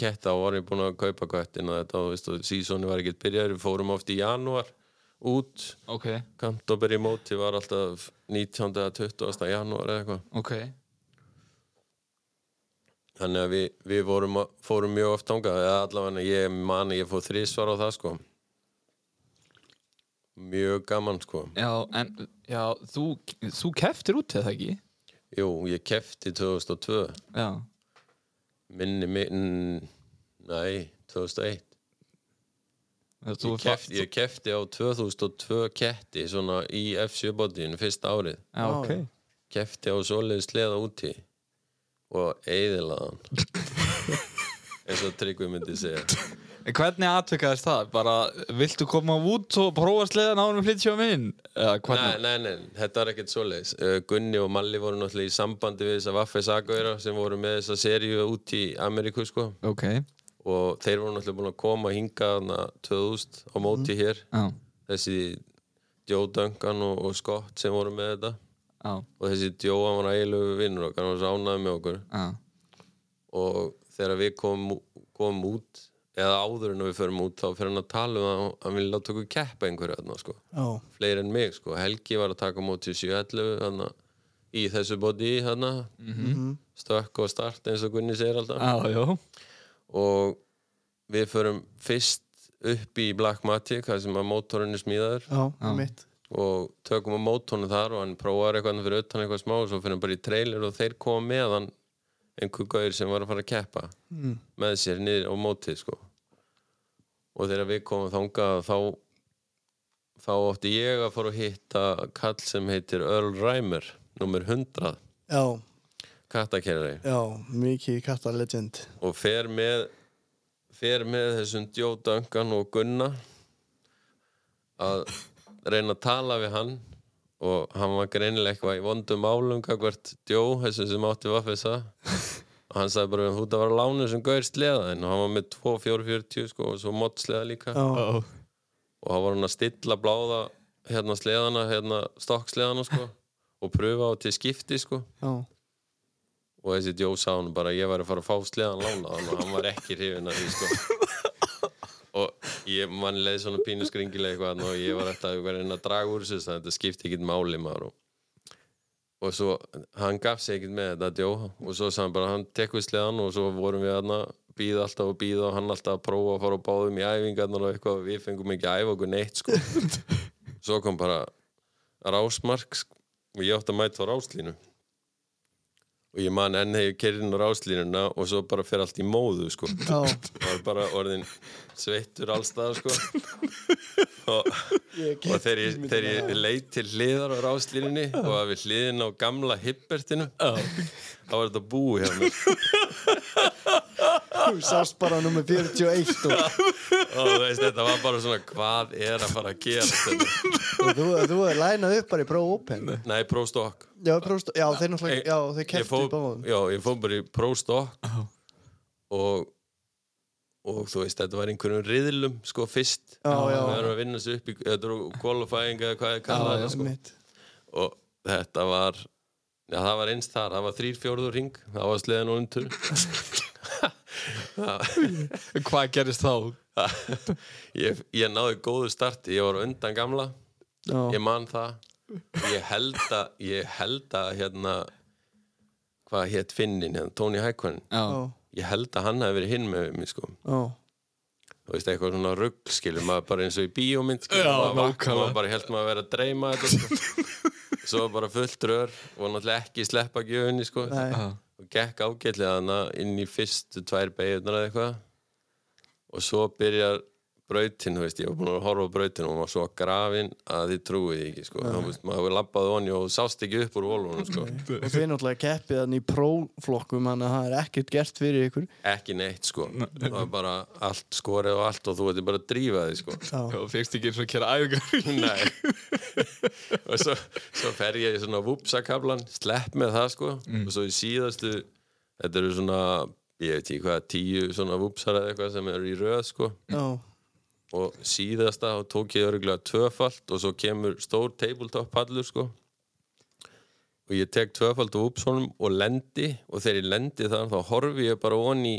ketta og var ég búin að kaupa köttin og þetta, þú veist, og sísónu var ekkert byrjaður við fórum oft í janúar út
ok,
Kantoberi móti var alltaf 19. eða 20. janúar eða eitthvað
ok
þannig að við, við vorum, að- fórum mjög oft þangað eða allavega ég mani ég fór þrísvar á það sko mjög gaman sko
Já, en, já, þú, þú keftir út eða ekki?
jú, ég kefti 2002
Já
minni, minni nei, 2001
Þú
ég kefti, ég kefti á 2002 ketti svona í F7-bóttinu fyrst árið
Já, ok
kefti á svoleiðis sleða úti og eiðilaðan eins og Tryggvi myndi segja
En hvernig atvikaðist það? Bara, viltu koma út og prófa sleðan árum við flytja á minn? Eða
nei,
hvernig?
nei, nei, þetta var ekkert svoleiðis Uh, Gunni og Malli voru náttúrulega í sambandi við þessa Vaffe Sagauðra sem voru með þessa seríu úti í Ameríku sko
Ok,
og þeir voru náttúrulega búin að koma hingað hana 2000 á móti hér
já,
þessi Joe Duncan og, og Scott sem voru með þetta
já,
og þessi Joe hann var ægilegu vinnur okkar hann var sánaði með okkur
já
og þegar við komum, komum út eða áður en við förum út þá fyrir hann að tala um að hann vilja láta okkur keppa einhverju þarna sko,
Já.
fleiri en mig sko Helgi var að taka á móti 711 þarna, í þessu body þarna stökk og start eins og Gunni segir alltaf
Já, já,
og við förum fyrst upp í Blackmatic þar sem að mótorinn er smíðaður
Já, mitt
og tökum á mótornu þar og hann prófar eitthvað þarna fyrir utan eitthvað smá og svo fyrir hann bara í trailer og þeir koma með hann einhver gaur sem var að fara að keppa mm. með sér niður á mótið sko og þegar við komum þangað þá þá átti ég að fara að hitta kall sem heitir Earl Reimer nummer 100
Já,
kattakerri
já, mikið katta legend
og fer með fer með þessum djóðdöngan og gunna að reyna að tala við hann og hann var greinilega eitthvað í vondum álum hvert djó, þessum sem átti vaffisa og hann sagði bara þú ert að vara lánu sem gaur sleðaðin og hann var með 2440 sko og svo mott sleða líka
Já,
já,
og hann var hann að stilla bláða hérna sleðana, hérna stokksleðana sko og pröfa á til skipti sko
já,
og þessi djó sá hann bara að ég væri að fara að fá sleðan lánaðan og hann var ekki hrifin að því sko og ég mann leið svona pínu skringilega eitthvað þarna og ég var eftir að vera inn að draga úr þessu þannig að þetta skipti ekkit máli maður og, og svo hann gaf sig ekkit með þetta djó og svo sagði hann bara hann tek við sleðan og svo vorum við hann að býða alltaf og býða og hann alltaf að prófa að fara og báðum í æfingarnar og eitthvað við fengum ekki að æfa okkur neitt sko svo kom bara rásmark sko, og ég átti að mæta á ráslínu og ég man enn þegar ég kerði inn á ráslínuna og svo bara fer allt í móðu sko
Já,
og er bara orðin sveittur allstað sko og,
ég
og
get
þegar ég,
ímyndað
þegar
mér
ég
það.
leit til hliðar á ráslínunni og að við hliðin á gamla hippertinu þá var þetta búið hjá mér
Þú sást bara nummer 41 og,
og þú veist þetta var bara svona hvað er að fara að gera þetta
og þú, þú er lænað upp bara í Pro Open
nei, próstokk
Já, próst, já þeir náttúrulega, já, þeir
Ég
keftu
fór-
í báðum
Já, ég fór bara í próstokk og, og þú veist, þetta var einhverjum riðlum sko fyrst
Já, já.
það er að vinna sér upp í, þetta eru qualifying eða hvað er kallað þetta, sko.
Einmitt.
og þetta var já, það var eins þar, það var þrír fjórður ring það var sleðan og undur
Hvað gerist þá?
ég, ég náði góðu starti, ég var á undan gamla
Já,
ég man það ég held að, ég held að hérna hvað hétt Finnin, hérna, Tony Hækkonin
já,
ég held að hann hafi verið hinn með mig sko
já
þú veist eitthvað svona rugg skilur maður bara eins og í bíómynd skilur
Já,
maður, vakna,
nákvæmlega.
maður bara held maður að vera að dreyma þetta sko. svo bara fullt rör og náttúrulega ekki sleppa gjöfunni sko
Nei,
Já.
og gekk ágætlega hana inn í fyrstu tvær beigurnar eða eitthvað og svo byrjar brautin, þú veist, ég var búin að horfa á brautin og hún var svo grafin að þið trúið því ekki, sko, þá veist, maður labbaði honni og þú sást ekki upp úr volvunum, sko
og þeir náttúrulega keppið hann í próflokkum þannig að það er ekkert gert fyrir ykkur
ekki neitt, sko það var bara allt skorið og allt og þú veitir bara að drífa því, sko
Já,
Og fegst ekki eins og að kera æfingar
Nei Og svo, svo fer ég í svona vupsakablan Slepp með það sko Og svo í síðastu Þetta eru svona, ég veit ekki hvað, tíu svona vupsar eða eitthvað sem eru í röð sko
já,
Og síðasta þá tók ég örgulega tvöfalt Og svo kemur stór tabletop pallur sko Og ég tek tvöfalt á vupsónum og lendi Og þegar ég lendi þar þá horfi ég bara onni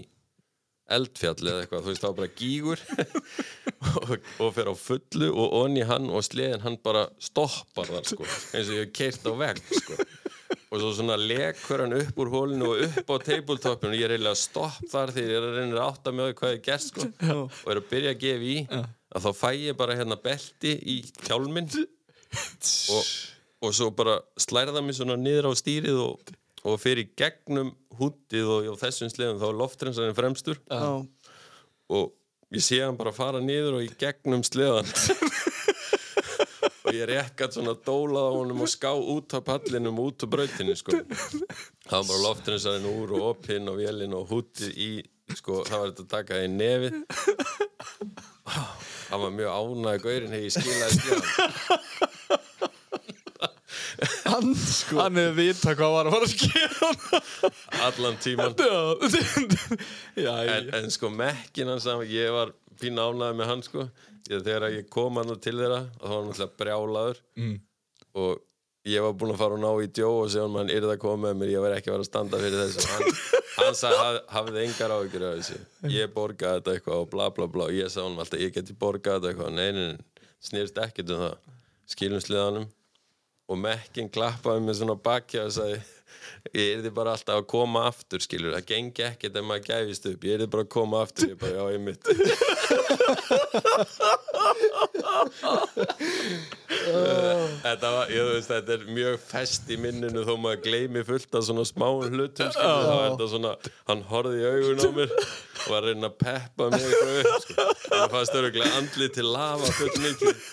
eldfjall eða eitthvað, þú veist, þá bara gígur og, og fer á fullu og onni hann og sleðin hann bara stoppar þar, sko, eins og ég hef keirt á vegg, sko og svo svona lekur hann upp úr hólinu og upp á tabletopinu og ég er eiginlega stopp þar þegar ég er að reyna að átta mig á því hvað ég gerst, sko og er að byrja að gefa í að þá fæ ég bara hérna belti í kjálminn og, og svo bara slærða mig svona niður á stýrið og, og fyrir gegnum húttið og, og þessum sleðum þá er loftrensarinn fremstur
já
og ég sé hann bara fara niður og í gegnum sleðan og ég rekkat svona dólað á honum og ská út af pallinum út af brautinu sko það var bara loftrinsarinn úr og opinn og vélinn og húttið í sko það var þetta að taka í nefið það var mjög ánægði gaurinn hefði ég skilaði sleðan
Hann sko
Hann hefur vita hvað var að fara að gera
allan tíman
Já, já,
en, en sko mekkin hans að ég var fín ánæði með hann sko ég, þegar ég kom hann til þeirra þá var hann alltaf brjálaður mm. og ég var búinn að fara og ná í djó og segja hann hann yrði að koma með mér, ég var ekki að vera að standa fyrir þessu hann, hann sagði, haf, hafði engar áhyggjur af þessu ég borgaði þetta eitthvað og bla bla bla og ég sagði hann alltaf, ég geti borgaði þetta eitthvað nei, nei, nei, snýrst ekkert um það skilum sliðanum og mekkin klappaði með svona bakja og sagði ég er bara alltaf að koma aftur skilur, það gengi ekkert ef maður gæfist upp ég er bara að koma aftur, ég bara já ég mitt Eh, þetta var, ég þú veist þetta er mjög fest í minninu þó maður gleymi fullt af svona smáum hlutum skilur, þá er þetta svona, hann horfði í augun á mér og var að reyna að peppa mig eitthvað upp, sko, það fannst öruglega andli til lava full mikið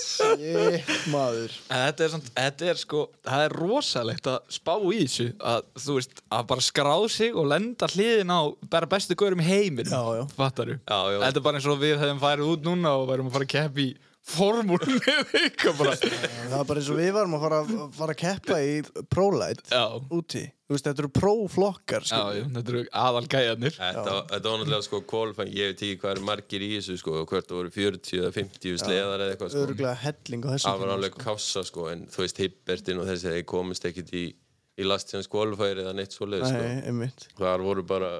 Shit, maður
En þetta er, samt, þetta er sko, það er rosalegt að spá í þessu að þú veist, að bara skráð sig og lenda hliðin á bara bestu gaurum í heiminum
Já, já.
fattar
Já, já.
Þetta er bara eins og við hefum færið út núna og værum að fara að keppi í formúlum með ykkur bara
Það er bara eins og við varum að fara, fara að keppa í prólæt
Já,
úti Þú veist, þetta eru próflokkar sko.
já, já, þetta eru aðal gæjarnir
Þetta, þetta var náttúrulega sko kvalifæn, ég veit ekki hvað er margir í þessu sko, og hvert það voru 40 eða 50 sleðar eða eitthvað sko.
Öruglega helling á þessum
Það var alveg kássa sko, en þú veist Hippertin og þessi þeir komist ekkit í, í lastjans kvalifæri eða neitt svoleið
tíma.
sko.
Nei, einmitt
Þar voru bara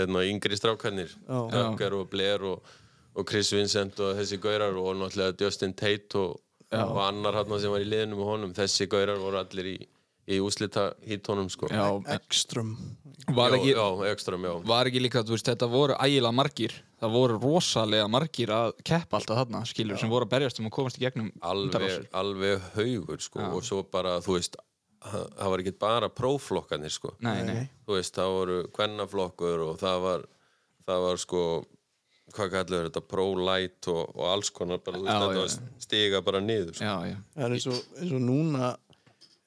eðna, yngri strákarnir,
Já.
Döggar og Blair og, og Chris Vincent og þessi gaurar og náttúrulega Justin Tate og, og annar hann sem var í liðinu með honum, þessi gaurar voru allir í, í úslita hítónum sko.
Já, en
Ekström
var ekki,
já, já, ekstrám, já.
var ekki líka, þú veist, þetta voru ægilega margir það voru rosalega margir að keppa alltaf þarna, skilur, sem voru að berjast um að komast í gegnum
alveg,
undanrásir.
alveg haugur sko, og svo bara þú veist það var ekki bara próflokkanir sko
Nei, nei.
þú veist, það voru kvennaflokkur og það var, það var sko hvað kallar þetta, pro-light og, og alls konar, bara, þú veist,
Já,
þetta
já,
var stiga bara niður, sko.
Já, já.
Það er eins og, eins og núna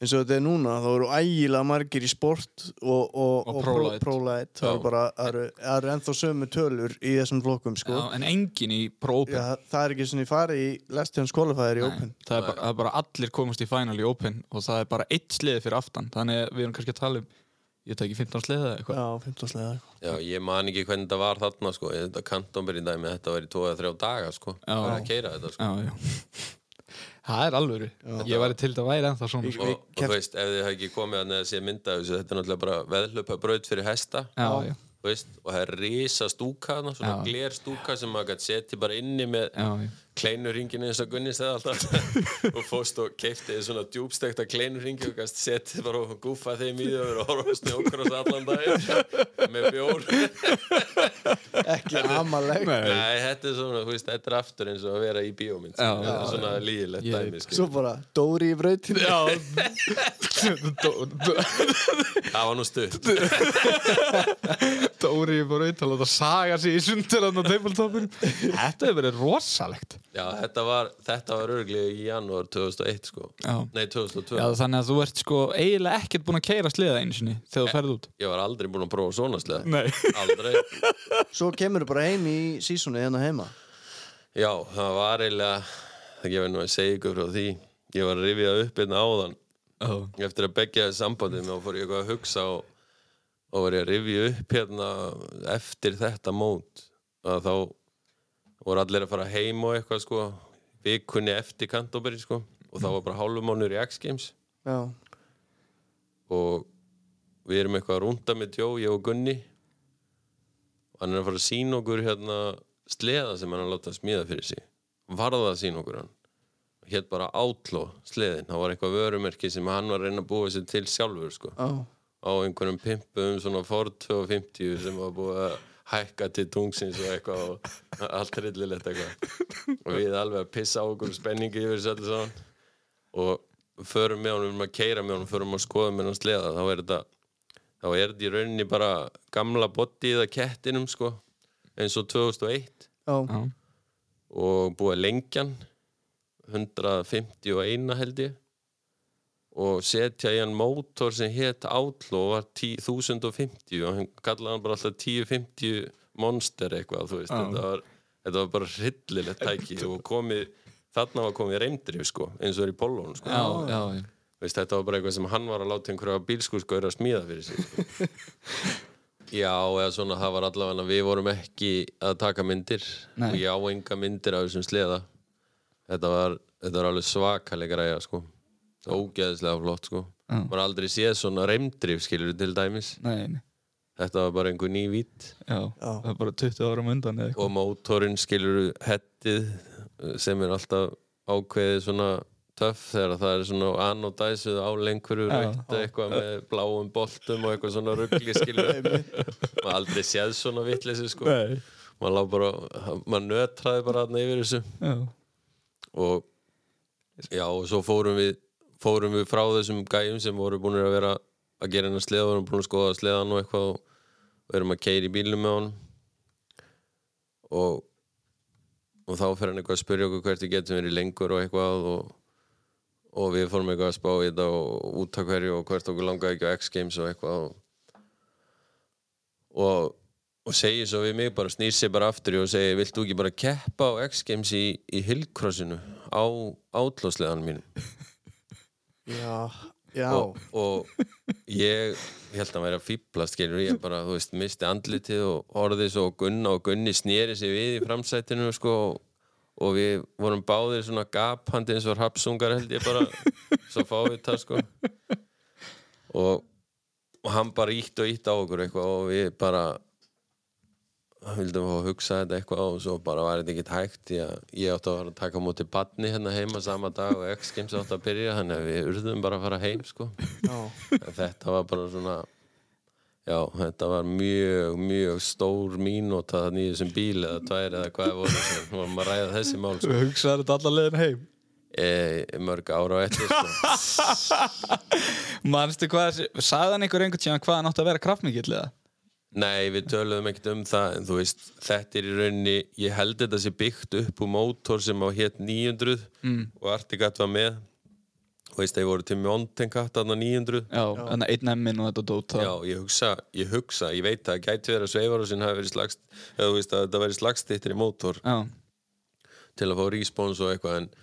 eins og þetta er núna, þá eru ægilega margir í sport og, og,
Og pro-light.
pro-light það
Já.
eru bara, það eru, það eru ennþá sömu tölur í þessum flokkum sko
já,
já,
en engin í prófum.
það er ekki svona í fari í lestjóns kvalifæðir í Open
Það er, bara, það er bara allir komast í final í Open og það er bara eitt sliði fyrir aftan þannig að við erum kannski að tala um ég teki 15 sliði eða eitthvað
já, 15 slega
Já, ég man ekki hvernig þetta var þarna, sko, Ég- þetta kantómber í dæmi, þetta var í 2-3 daga, sko,
Já.
bara að keira þetta, sko.
Já, já Það er alvöru Ég væri til þetta væri ennþá svona sko.
Og, og þú veist, ef þið hafði ekki komið að neða sé mynda þessu, þetta er náttúrulega bara veðlöpa braut fyrir hesta,
Já, já,
þú veist, og það er risa stúka, þarna, svona
Já.
gler stúka sem maður gæti setið bara inni með
já, já.
kleinurringin eins og Gunni segði alltaf og fóst og keipti svona djúbstekta kleinurringi og gæst setið bara og gúfa þeim í þau og horfa snjókross allan dag með bjór
ekki amaleg
Nei, þetta er svona, þú veist, þetta er aftur eins og að vera í bíómynd
Já,
þetta er
já,
svona líðilegt
Ég-
dæmi sko.
svo bara Dóri í brautinu
Já Dó- dó-
Það var nú stutt
Dóri er bara auðvitað að láta saga sig í sundilann á teipultoppin Þetta hefur verið rosalegt
Já, þetta var, þetta var örglega í janúar 2001 sko
Já.
Nei, 2002
Já, þannig að þú ert sko eiginlega ekkert búin að keira sliða einu sinni þegar þú ferð út
Ég var aldrei búinn að prófa svona sleða
Nei
Aldrei
svo kemur bara heim í sísunni hérna heima
Já, það var eiginlega Það gefur nú að segja ykkur frá því Ég var að rifja upp einn áðan
oh.
eftir að begja þessi sambandið mér fór ég eitthvað að hugsa og, og var ég að rifja upp hérna eftir þetta mót að þá voru allir að fara heim og eitthvað sko vikunni eftir Kantoberi sko og þá var bara hálfumónur í X-Games
já,
og við erum eitthvað að rúnda með Jó, ég og Gunni og hann er að fara að sína okkur hérna sleða sem hann er að láta smíða fyrir sig varða að sína okkur hann hétt bara átló sleðin það var eitthvað vörumerki sem hann var að reyna að búa sér til sjálfur sko
já,
á einhverjum pimpum svona Ford 250 sem var búið að hækka til tungsins og eitthvað og allt rillilegt eitthvað og við alveg að pissa á okkur spenningi yfir þessu öllu saman og förum með honum, við erum að keira með honum förum að skoða með hann sleða þá er þetta þá er þetta í rauninni bara gamla bodyið að kettinum sko eins og 2001
já,
Já,
og búið að lengja hann 151 held ég og setja í hann mótor sem hétt Outlaw og var 1050 og hann kallaði hann bara alltaf 1050 Monster eitthvað þú veist,
Já.
þetta, var, þetta var bara hryllilegt tæki og komið, þarna var komið reymdrif sko, eins og er í pólón sko.
já, já, já.
veist, þetta var bara eitthvað sem hann var að láta einhverja bílskúrskaur að smíða fyrir sig sko. já, eða svona það var allavega við vorum ekki að taka myndir
Nei.
og ég á enga myndir af þessum sleða þetta var, þetta var alveg svakalega græja sko. ógeðislega flott sko.
Já.
maður har aldrei séð svona reymdrif skilur til dæmis
Nei, nei
þetta var bara einhver ný vít
Já, það er bara 20 árum undan eða eitthvað
og mótorinn skilur hettið eh, sem er alltaf ákveðið svona töff þegar það er svona anodæsuð á lengur
Já.
raukt eitthvað með bláum boltum og eitthvað svona ruggli skilur maður aldrei séð svona vitleysi sko
Nei,
maður, lá bara, maður nötraði bara þarna yfir þessu
já,
og já og svo fórum við fórum við frá þessum gæjum sem voru búin að vera að gera hennar sleða vorum búin að skoða sleðan og eitthvað og við erum að keira í bílum með honum og og þá fer hann eitthvað að spyrja okkur hvert við getum verið lengur og eitthvað og, og við fórum eitthvað að spá í þetta og út að hverju og hvert okkur langaði ekki á X Games og eitthvað og, og, og segir svo við mig bara snýr sér bara aftur í og segir vilt þú ekki bara keppa á X Games í, í hillcrossinu á átlósleðanum mínum
já, já.
og, og ég ég held að hann væri að fýbla skilur ég bara, þú veist, misti andlitið og orðið svo á Gunna og Gunni sneri sig við í framsætinu sko og, og við vorum báðir svona gapandi eins og rapsungar held ég bara svo fávita sko og, og hann bara ítt og ítt á okkur eitthvað og við bara vildum fá að hugsa þetta eitthvað og svo bara var þetta ekki hægt því að ég átti að fara að taka á móti badni hérna heima sama dag og X-Games átti að byrja þannig að við urðum bara að fara heim sko
já.
en þetta var bara svona já, þetta var mjög, mjög stór mínúta þannig í þessum bíl eða tvær eða hvað voru sem vorum að ræða þessi mál sko.
þú hugsaðar þetta alla leiðin heim
e, mörg ára á eftir sko.
Manstu hvað, sagði hann einhver einhvern tíðan hvað hann átti að vera kraftmikill eða?
Nei, við töluðum ekkert um það en þú veist, þetta er í rauninni ég held þetta sé byggt upp úr mótor sem á hétt 900 mm. og Artigat var með þú veist, þeir voru til Mountain Cat þarna 900
Já, þannig að einn emmin og þetta dót það.
Já, ég hugsa, ég hugsa, ég veit að gæti verið að sveifarósin hafi verið slagst eða þú veist að þetta verið slagstittir í mótor
Já,
til að fá respons og eitthvað en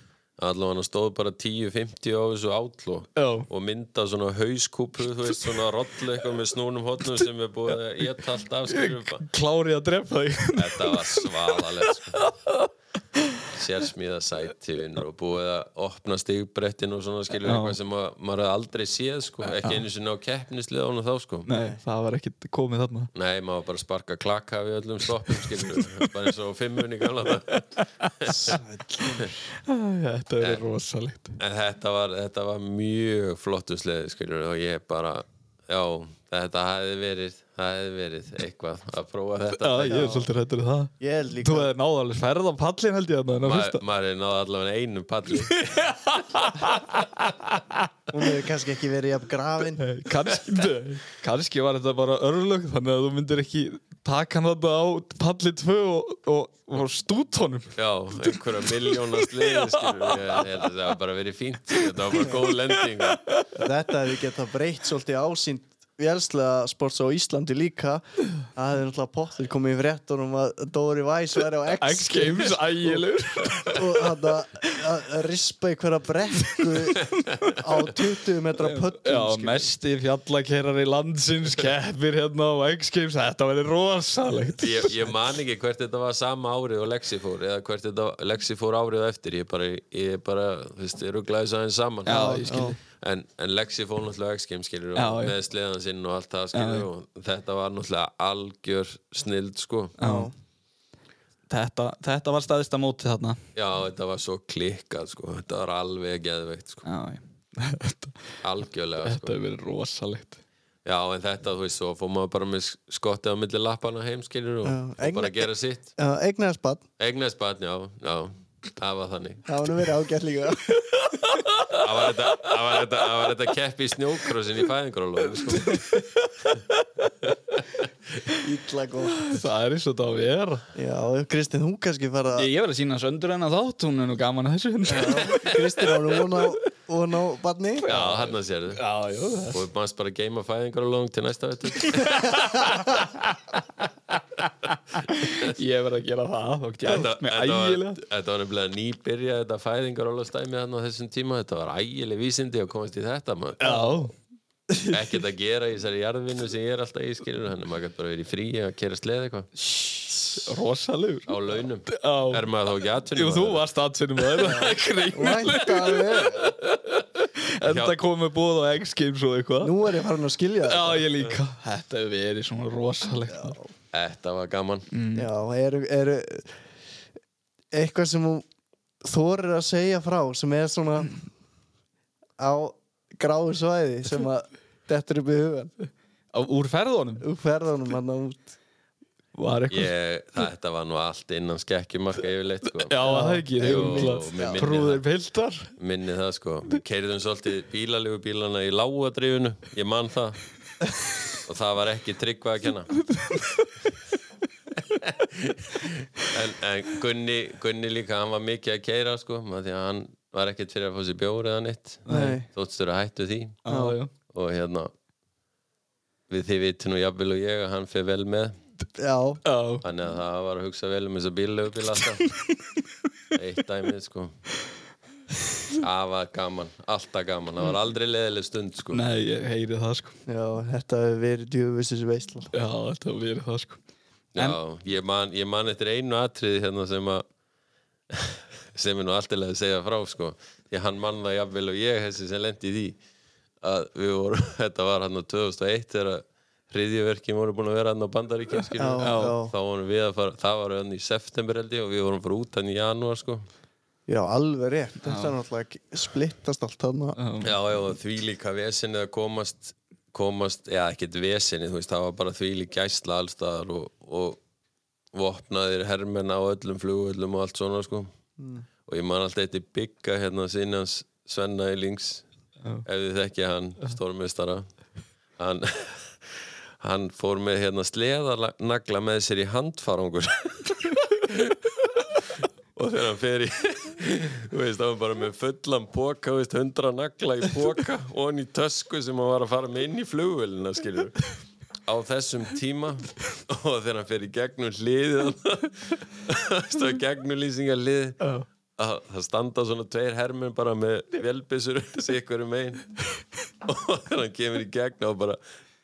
allavega stóð bara 10-50 á þessu átló
Já.
og mynda svona hauskúpu, þú veist, svona rollu eitthvað með snúnum hotnum sem er búið að ég talt af skilur bara.
klárið að drepa þig.
Þetta var svalalegt sko. Sérsmíða sæti vinnur og búið að opna stigbrettin og svona skilur
Já.
eitthvað sem að, maður hafði aldrei séð sko, ekki einu sinni á keppnislið án og þá sko.
Nei, það var ekkit komið þarna.
Nei, maður var bara að sparka klaka við öllum stoppum skilur, bara eins og á fimmun í gamla daga.
Æ, Þetta er rosalegt.
En þetta var, þetta var mjög flottu sleði, skiljur, og ég bara, já, þetta hefði verið, það hefði verið eitthvað að prófa þetta.
Já, ég er svolítið rættur í það.
Ég held
Þú
líka
hefði náða alveg færð á pallin held ég þarna, en að
Ma-
fyrsta.
Maður er náða allavega einu palli.
Hún hefur kannski ekki verið jafn grafin
Nei, Kannski, nei, kannski var þetta bara örlög þannig að þú myndir ekki taka hann þetta á palli 2 og, og, og stút honum.
Já, einhverja miljóna sleði, skiljur, ég held að það var bara verið fínt, þetta var bara góð lending.
Þetta hefði getað breytt svolítið ásýnd Vélslega sports á Íslandi líka Það hefði náttúrulega pottur komið í fréttunum að Dóri Væs væri á X
X Games ægilegur.
og hann að rispa einhverja brekku á 20 metra
Já,
pöttum
mesti fjallakerrar í landsins keppir hérna á X Games, þetta væri rosalegt.
Ég, ég man ekki hvert þetta var sama árið og Lexi fór, eða hvert þetta Lexi fór árið á eftir, ég bara, ég bara, þú veist, ég rugglaði þess aðeins saman.
Já, ég skil.
en, en Lexi fór náttúrulega X-Games skilur
Já,
og
já.
með sleðan sinn og allt það skilur og þetta var náttúrulega algjör snild sko já.
Já. Þetta, þetta var staðista mótið þarna.
þetta var svo klikkað sko þetta var alveg geðveikt sko
Já, já. Þetta,
algjörlega
þetta
sko
hefur verið rosalegt.
já en þetta þú veist svo fór maður bara með sk- skottið á milli lappana heim skilur og,
Já,
og bara
eigna-
gera sitt
Egnaðars bann,
eignaðis barn já, já það var þannig
það hann verið ágætt líka
það var þetta, það var þetta, það var þetta keppi í snjókrossin í fæðingrólu sko.
Ítla góð
Það er eins og þetta að vera.
Já, Kristinn, þú kannski fara
Ég, ég verið að sína söndur en að þátt, hún er nú gaman að þessu. hérna.
Kristinn, hann er von á, von á banni
já, hann að sér
Já, já, það.
og mannst bara að geima fæðingrólu til næsta vettur
Ég verið að gera það, þá
Þetta,
gætt mig
þetta, var,
ægilega.
þetta var nefnilega nýbyrja þetta fæðingar stæmi hann á þessum tíma þetta var ægileg vísindi að komast í þetta maður.
Já,
ekkert að gera í þessari jarðvinnu sem ég er alltaf í skilur þannig að maður gæti bara verið í frí að kera sleð eitthvað
rosalegur.
á launum
Já.
er maður þá ekki atvinnum
Jú, þú varst aðsynum að þetta.
Væntanlega.
Enda komið búið á X-Games og eitthvað.
Nú er ég farin að skilja það
Já, ég líka. Þetta hefur verið svona rosalegt. maður.
þetta var gaman
Já, eru, eru eitthvað sem þú þorir að segja frá sem er svona á gráu svæði sem að dettur upp í hugan
Á- Úr ferðunum
úr ferðanum hann út
var eitthvað.
ég, þetta var nú allt innan skekkjumarka yfirleitt sko.
Já, það ekki, þeir
Jú,
eru
mér
umlað
minnir
Prúðir piltar
minni það sko við keirðum svolítið bílalegu bílana í lágadrifinu ég man það og það var ekki tryggvað að kenna en, en Gunni Gunni líka, hann var mikið að keira sko, af því að hann var ekkert fyrir að fá sér bjór eða neitt
Nei.
þóttstur að hættu því
Já, já
og hérna við þið vitum nú jafnvel og ég að hann fer vel með
Já,
Já,
þannig að það var að hugsa vel um þessa bíllegu bíl alltaf eitt dæmið sko það var gaman, alltaf gaman það var aldrei leðileg stund sko
nei, ég heyri það sko
já, þetta hefur verið djöfusins veisla
Já, þetta verið það sko
Já, ég man, ég man eftir einu atriði hérna sem að sem er nú alltilega að segja frá sko því hann man það jafnvel og ég þessi sem lendi í því að við vorum, þetta var hann á 2001 þegar hriðjöverkjum voru búin að vera hann á bandaríkjum
Já, já.
þá vorum við að fara, það var hann í september held ég og við vorum fyrir út hann í janúar sko
Já, alveg rétt, þetta er náttúrulega ekki- splittast allt þarna
Já, já, og því líka vesinni að komast, komast, já, ekkert vesinni, þú veist, það var bara því líka gæsla allstaðar
Mm.
og, og vopnaðir hermenn á öllum flugvöllum og allt svona, sko. og ég man alltaf eitthi bygga hérna sinans Svenna Eilings
Já.
ef þið þekki hann, stórmestara hann hann fór með hérna sleðanagla með sér í handfarangur og þegar hann fer í þú veist, hann var bara með fullan póka, þú veist, hundra nagla í póka og hann í tösku sem hann var að fara með inn í flugvölina, skiljur á þessum tíma og þegar hann fer í gegnum hliðið stöðu gegnum lýsingar hliðið
Já.
að það standa svona tveir hermur bara með velbissur sikkur um einn og þegar hann kemur í gegn og bara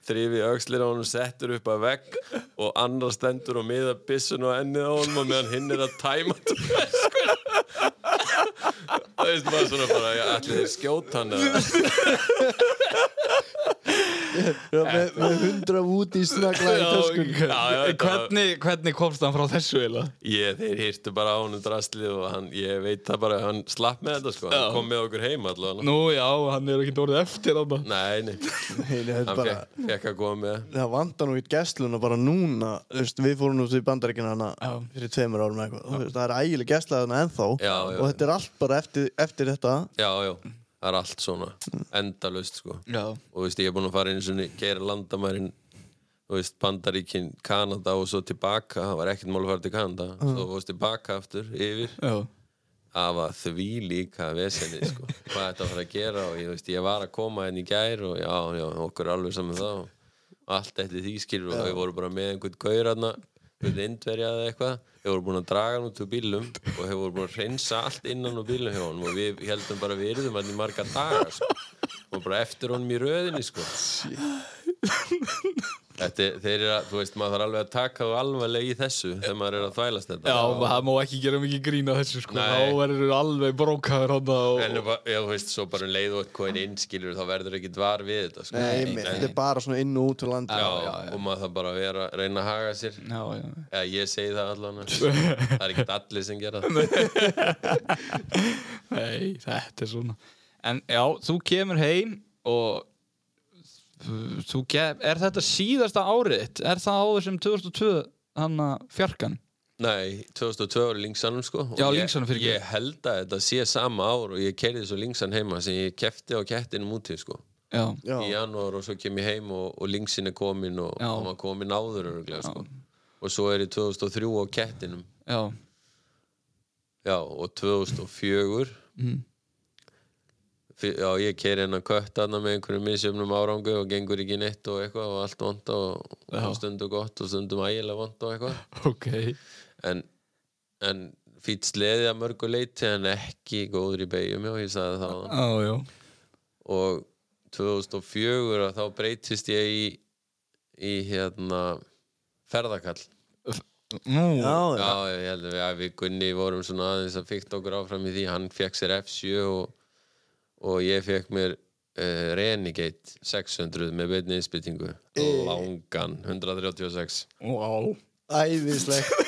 þrifi aukslir á honum, settur upp að vegg og annar stendur og miða bissun og ennið á honum og meðan hinn er að tæma töskur það veist maður svona bara ég ætli þér skjóta hann eða
með, með hundra út í snagla í töskunni
En
já, já, þetta var-
sko, Hvernig, hvernig komst hann frá þessu eiginlega?
ég, þeir hýrtu bara á honum drastlið og hann, ég veit það bara, hann slapp með þetta sko,
Já.
hann kom með okkur heim allavega
Nú já, hann er ekki orðið eftir þarna.
nei, nei,
Nei, nei, þetta
hann
bara,
fekk, fekk að koma með
það vantar nú í gæsluna bara núna þú veist, við fórum út í bandaríkina hana
Já.
fyrir tveimur árum eða eitthvað Þú veist, það er ægileg gæsla þarna ennþá
Já, já,
og þetta er allt bara eftir, eftir þetta
já, já, það er allt svona endalaust sko
Já.
og þú veist, ég er búinn að fara einu sinni, keira landamærin þú veist, Bandaríkin, Kanada og svo tilbaka, það var ekkert mál að fara til Kanada svo fórst tilbaka aftur, yfir
Já.
það var því líka vesenið, sko, hvað þetta var að gera og ég, þú veist, ég var að koma henni í gær og já, já, okkur er alveg saman það og allt eftir því skilur og við vorum bara með einhvern gaurarna við indverjaði eitthvað, við vorum búin að draga hann út úr bílum og við vorum búin að reynsa allt innan úr bílum hjá hann og við heldum bara við yrðum hann í marga daga sko. og bara eftir honum í röðinni sko. Þetta, er- þeir eru að, þú veist, maður þarf alveg að taka þú alvarlega í þessu þegar maður er að þvælast þetta
Já, það má ekki gera mikið grín að þessu sko.
Nei.
Þá verður alveg brókaður hann og...
En bara, já, þú veist, svo bara um leið og eitthvað inn skilur þá verður ekki dvar við þetta sko.
Nei, nei, þetta er bara svona inn og út úr landi
já, og maður það bara að vera, reyna að haga sér
Já, já.
eða ég segi það allan það er ekki allir sem gera það
Nei, þetta er svona En já, þú kemur heim og þú kem, er þetta síðasta árið er það áður sem 2002 hann að fjarkan
Nei, 2002 var í Lingsanum sko og
Já,
ég-
Lingsanum, fyrirgefðu.
Ég held að þetta sé sama ár og ég kerði svo Lingsan heima sem ég kefti á kettinum úti sko
já,
Já.
í janúar og svo kem ég heim og, og Lingsin er komin og
Já.
hann var komin áður örgulega sko og svo er ég 2003 á kettinum
já,
Já, og 2004
Mhm.
Fyr- Já, ég keiri hennar kött aðna með einhverjum misjöfnum árangu og gengur ekki neitt og eitthvað og allt vond og,
Já.
og stundum gott og stundum ægilega vond og eitthvað
ok
en, en fýtt sleði að mörgu leiti en ekki góður í beigjum já, ég sagði það áðan.
já, já,
og 2004 að þá breytist ég í, í hérna ferðakall
nú, já,
já, já.
Já, ég held að við, að við Gunni vorum svona aðeins að fíkt okkur áfram í því hann fekk sér F7 og, og ég fekk mér uh, Renegade 600 með beinni innspýtingu langan 136
æðislegt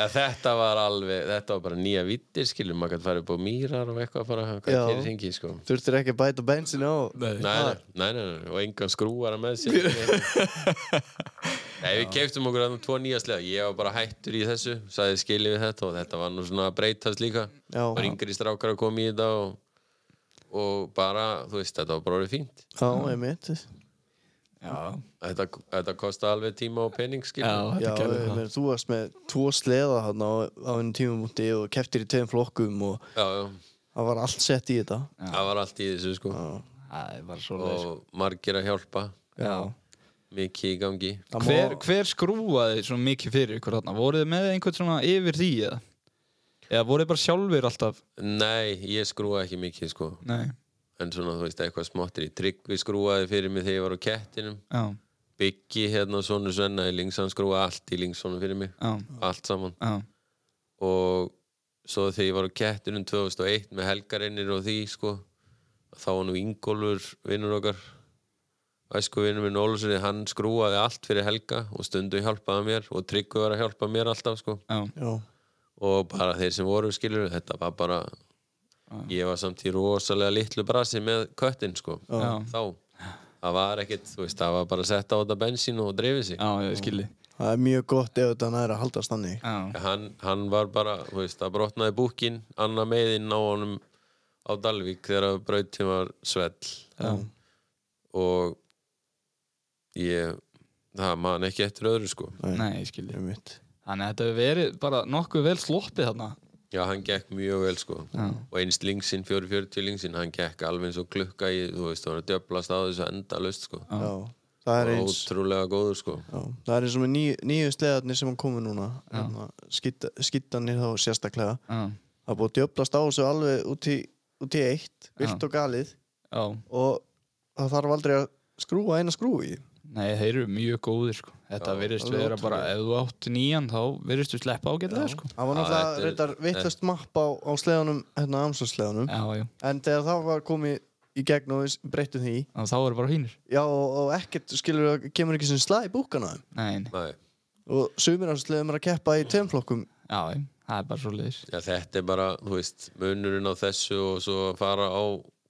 ja, þetta var alveg, þetta var bara nýja vittir skilur, maður gæti farið upp á mýrar og eitthvað bara, hvað
Já.
gerir hringi sko
þurftir ekki að bæta bensin á
Nei.
Nei, nei, nei, nei, nei, og engan skrúara með sér Nei, við keiftum okkur þannig tvo nýja sleða Ég var bara hættur í þessu, sagði skilið við þetta og þetta var nú svona að breytast líka
Já.
Var yngri strákar að koma í þetta og, og bara, þú veist, þetta var bara orðið fínt
já, einmitt
já,
Þetta, þetta kostaði alveg tíma og pening
já,
skilið
Já,
þetta gerði
ég
það
meina, þú varst með tvo sleða hann á, á einu tímumúti og keftir í tveim flokkum og
já, já,
það var allt sett í þetta
það var allt í þessu sko
það er bara svo leið
og margir að hjálpa,
já
mikið í gangi
Það
Hver,
má-
hver skrúaði svona mikið fyrir ykkur þarna? Voruð þið með einhvern svona yfir því eða? Eða voruð þið bara sjálfur alltaf?
Nei, ég skrúa ekki mikið sko
Nei,
en svona, þú veist, eitthvað smottir í trygg við skrúaði fyrir mig þegar ég var á kettinum
já,
byggi hérna svona svenna í links, hann skrúa allt í links svona fyrir mig
já,
allt saman
já,
og svo þegar ég var á kettinum 2001 með helgarinnir og því sko þá var nú Ingólfur vinnur okkar æsku vinnur minn Ólusinni, hann skrúaði allt fyrir helga og stundu hjálpaði mér og tryggu var að hjálpa mér alltaf sko
já,
Já,
og bara þeir sem voru skilur þetta var bara ég var samt í rosalega litlu brasi með köttin sko
Já.
þá, það var ekkit, þú veist, það var bara að setja á þetta bensín og dreifið sig
já, ég skilji
það er mjög gott ef þetta næri að haldast þannig
Já.
hann, hann var bara, þú veist, það brotnaði búkin annar meðinn á honum á Dalvík þegar brautin var svell
Já.
og ég það man ekki eftir öðru sko
Nei, ég skilji.
um mitt
Þannig að þetta hefur verið bara nokkuð vel sloppið þarna.
já, hann gekk mjög vel sko
Já.
og eins lingsinn, 440 lingsinn hann gekk alveg eins og klukka í, þú veist, hann er djöblast á þessu endalaust sko
Já.
Já. það er eins
ótrúlega góður sko
Já, það er eins og með ný, nýju sleðarnir sem hann komið núna hérna, skýta- skýtanir þá sérstaklega
Já.
það er búið að djöblast á þessu alveg út í, út í eitt, vilt
Já.
og galið
Já.
og það þarf aldrei að skrúa eina skrúi
Nei, þeir eru mjög góðir, sko. Þetta
Já,
virðist
alveg
vera bara, ef þú átt nýjan, þá virðist þú sleppa ágætlega, sko.
það var
Já,
náttúrulega
þetta er-
reyndar vittlust mapp á, á sleðanum, hérna amsvarsleðanum
Já, já.
en þegar það var komið í gegn og við breyttum því
Og þá eru bara hínir.
já og, og ekkert skilur það kemur ekki sem slag í búkan á þeim
Nei, nei.
Nei,
og sumir amsvarsleðum er að keppa í tveimflokkum
Já, já. Það er bara svo leiðis.
já, þetta er bara, þú veist, munurinn á þessu og svo að fara á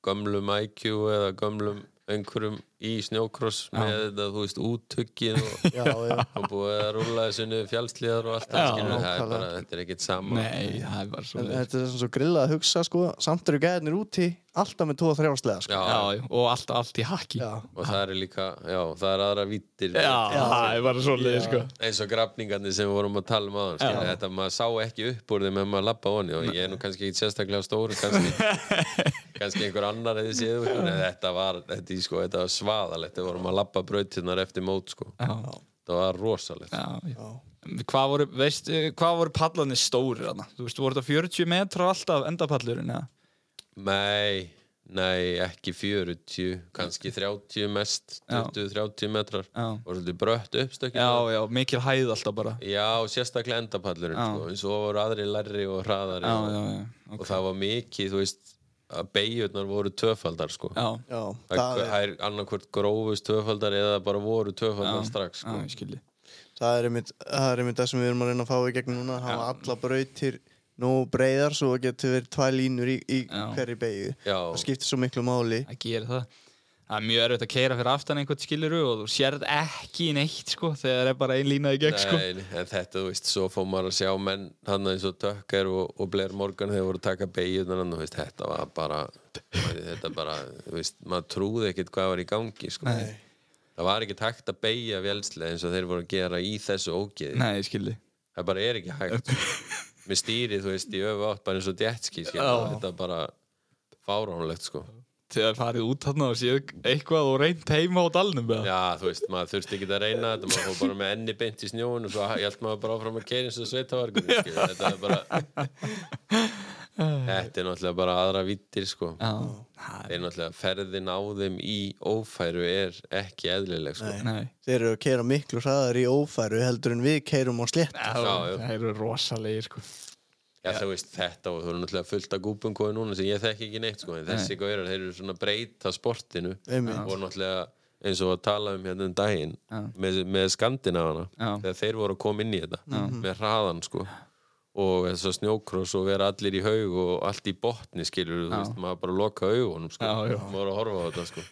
gömlum IQ eða gömlum einhverjum í snjókross með þetta, þú veist, úttökkið og,
já, já,
og búið að rúla þessu niður fjallsliðar og allt
Já,
það, skilur, það er
nákvæmlega.
bara, þetta er ekkert sama
Nei, það er bara svo
en
leiðis.
þetta er svona svo grillað að hugsa sko, samt eru gæðinir úti alltaf með tóa þrjárslega sko.
Já,
Já, já. Og allt, allt í haki.
já,
og það er líka, já, það er aðra vittir
Já, það er bara svo leiðis, sko.
eins og grafningarnir sem við vorum að tala um aðan skilur, þetta maður sá ekki upp úr þeim ef maður lappa honi og ég er nú kannski ekki sérstaklega stór kannski, kannski einhver annar eða séð úr, en þetta var, þetta, í, sko, þetta var svaðalegt við vorum að lappa brautinnar eftir mót sko.
Já,
það var rosalegt
já, já.
já.
Hvað voru, veistu, hvað voru pallarnir stórir þarna? Þú veist, voru þetta 40 metrar alltaf endapallurinn, eða?
nei, nei, ekki 40 kannski 30 mest
Já.
20-30 metrar
Já.
og svolítið brött uppstökkið
Já, já, mikil hæð alltaf bara.
Já, sérstaklega endapallurinn
Já.
sko, eins og voru aðri lærri og hraðari
Já,
og,
já, já.
og það var mikið, þú veist að beigjurnar voru tvöfaldar sko.
Já,
já,
það
það er
það er annarkvort grófust tvöfaldar eða bara voru tvöfaldar strax
já,
sko.
ég skilji.
Það er einmitt, það er einmitt það sem við erum að reyna að fá í gegn núna hafa alla brautir nógu breyðar svo það getur verið tvær línur í, í
Já.
hverri beigju
Já,
það skiptir svo miklu máli
Það gerir það. Það er mjög erfitt að keira fyrir aftan einhvern skiliru og þú sérð ekki neitt, sko, þegar það er bara ein lína í gegn, sko.
nei, en þetta, þú veist, svo fór maður að sjá menn hann eins og Dökker og, og Blair Morgan þegar voru að taka beigjurnar hann, þú veist, þetta var bara maður- þetta bara, þú veist, maður trúði ekkit hvað var í gangi sko. það var ekki hægt að beigja vélslega eins og þeir voru að gera í þessu ógeði
Nei, ég skilji.
það bara er ekki hægt sko. með stýrið, þú veist, í öfu átt bara eins og djetski, þetta er bara fáránlegt, sko
Þegar það farið út þarna og séð eitthvað og reynd heima á dalnum, eða?
já, þú veist, maður þurfti ekki að reyna þetta maður fór bara með enni beint í snjóun og svo hjælt maður bara áfram að keira eins og sveitavargur þetta er bara þetta er náttúrulega bara aðra vittir, sko
Já. Það
þeir náttúrulega ferðin á þeim í ófæru er ekki eðlileg, sko
er- Nei.
þeir eru að keira miklu hraðar í ófæru heldur en við keirum á slett
Já, já.
Það eru rosalegir, sko.
Já, þú veist, þetta og þú eru náttúrulega fullt af gúpum góði núna sem ég þekki ekki neitt sko, en þessi góðir, þeir eru svona að breyta sportinu
Einmitt.
og náttúrulega eins og að tala um hérna um daginn
Já.
með, með skandinavana
Já.
þegar þeir voru að koma inn í þetta með hraðan sko og þess að snjókross og vera allir í haug og allt í botni skilur þú veist, maður bara loka augunum sko,
Já, já.
maður að horfa á þetta sko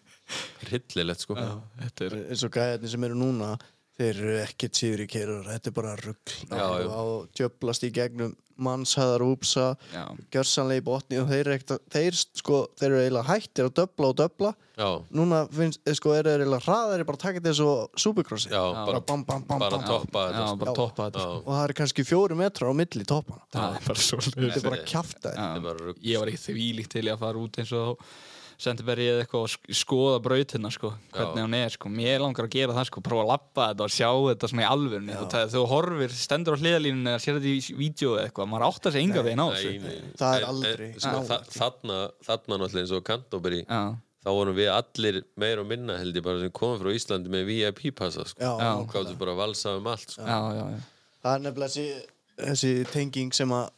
hryllilegt sko já,
Þetta er...
eins og gæðarnir sem eru núna þeir eru ekki síður í keirar þetta er bara rugg
Já, já.
og djöblast í gegnum mannshæðar úpsa
Já.
gjörsanlega í botni og þeir eru, ekkert að, þeir, sko, þeir eru eiginlega hættir að döbla og döbla
já,
núna finnst, sko, eru þeir eiginlega hraðari bara að taka þetta svo supercrossi
bara,
bara bam, bam, bam,
bara
bam.
toppa
Já,
þetta sko.
bara toppa þetta,
Já.
sko.
og það er kannski fjóru metrar á milli toppana
Það er bara svo
þetta er bara að kjafta þér
er bara rugl.
Ég var ekki þvílíkt til í að fara út eins og Sendibergi eða eitthvað og sk- skoða brautina sko, hvernig
Já.
hún er sko. Mér langar að gera það sko, prófa að lappa þetta og sjá þetta svona í alvörni. Þú, þegar þú horfir, stendur á hliðalínunni eða sér þetta í vídeo eða eitthvað, maður áttar sig enga veginn á þessu.
Nei, nei.
Það er
En- en,
aldrei
sko,
nálægt
þa- Þarna, þarna náttúrulega eins og Kantobri
Já,
þá vorum við allir meir og minna held ég bara sem komum frá Íslandi með VIP-passa sko.
Já, Já.
og gáttu bara að valsa um allt sko.
já, já. já.
það er nefnilega þessi, þessi tenging sem, að,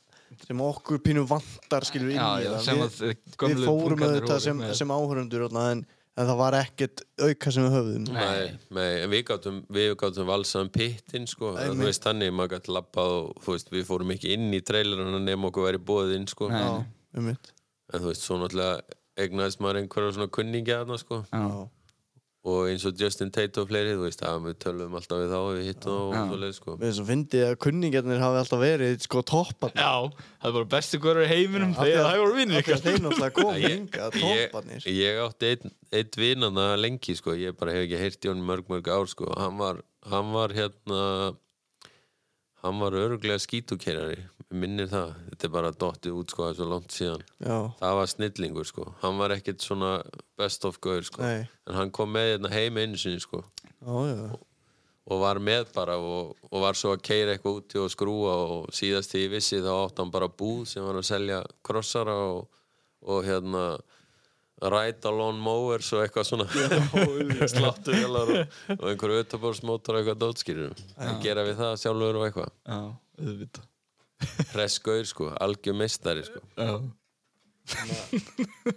sem okkur pínu vantar skilur inn
Já,
í
já,
það
sem að
við,
þið gömlu
við fórum
punkarnir
auðvitað
voru
sem,
með.
sem áhörundur en, en það var ekkert auka sem við höfðum
Nei, nei, en við gáttum, við gáttum valsað um pittin sko. Eða, þú veist þannig, maður gætt labbað og þú veist, við fórum ekki inn í traileruna nema okkur væri bóðið inn sko.
Nei.
Já,
en
um mitt
þú veist, svo náttúrulega egnaðist maður einhverja svona kunningja þarna sko.
Já.
Já.
og eins og Justin Tate og fleiri þú veist að við tölum alltaf við þá og við hittum þá og
Já.
svoleið sko
Við þess að fyndi að kunningarnir hafi alltaf verið sko topparnir.
Já, það voru bestu hverjar í heiminum
Af því
þegar
að-
það voru vinnir
af því að Þeir náttúrulega
Æ,
komið
ég-
hingað,
ég,
topparnir.
ég átti einn ein vinnana lengi sko, ég bara hef ekki heyrt í honum mörg mörg ár sko, hann var, hann var hérna hann var öruglega skítukerari minnir það, þetta er bara dottið út sko, það er svo langt síðan,
Já,
það var snillingur sko, hann var ekkert svona best of gaur sko,
Nei.
en hann kom með hérna heim einu sinni sko,
já, já.
og var með bara og, og var svo að keira eitthvað úti og skrúa og síðast því ég vissi þá átt hann bara búð sem var að selja krossara og, og hérna ride-alone mowers og eitthvað svona sláttuvelar og, og einhverju utabórsmótor og eitthvað dótskýrur að gera við það sjálfur og eitthvað
Já, auðvitað
pressgauður sko, algjör meistari sko
Já,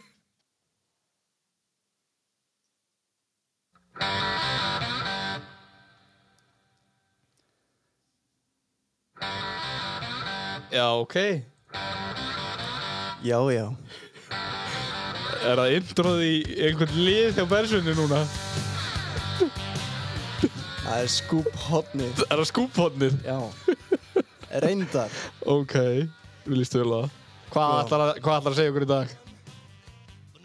Já, ok Er
Já, já.
það introð í einhvern lið hjá Bersunni núna?
Það er skúp hotnið.
Er það skúphotnið?
Já. Reyndar.
Ok, við lístu vel að Hvað
Já.
ætlar að, hvað ætlar að segja okkur í dag?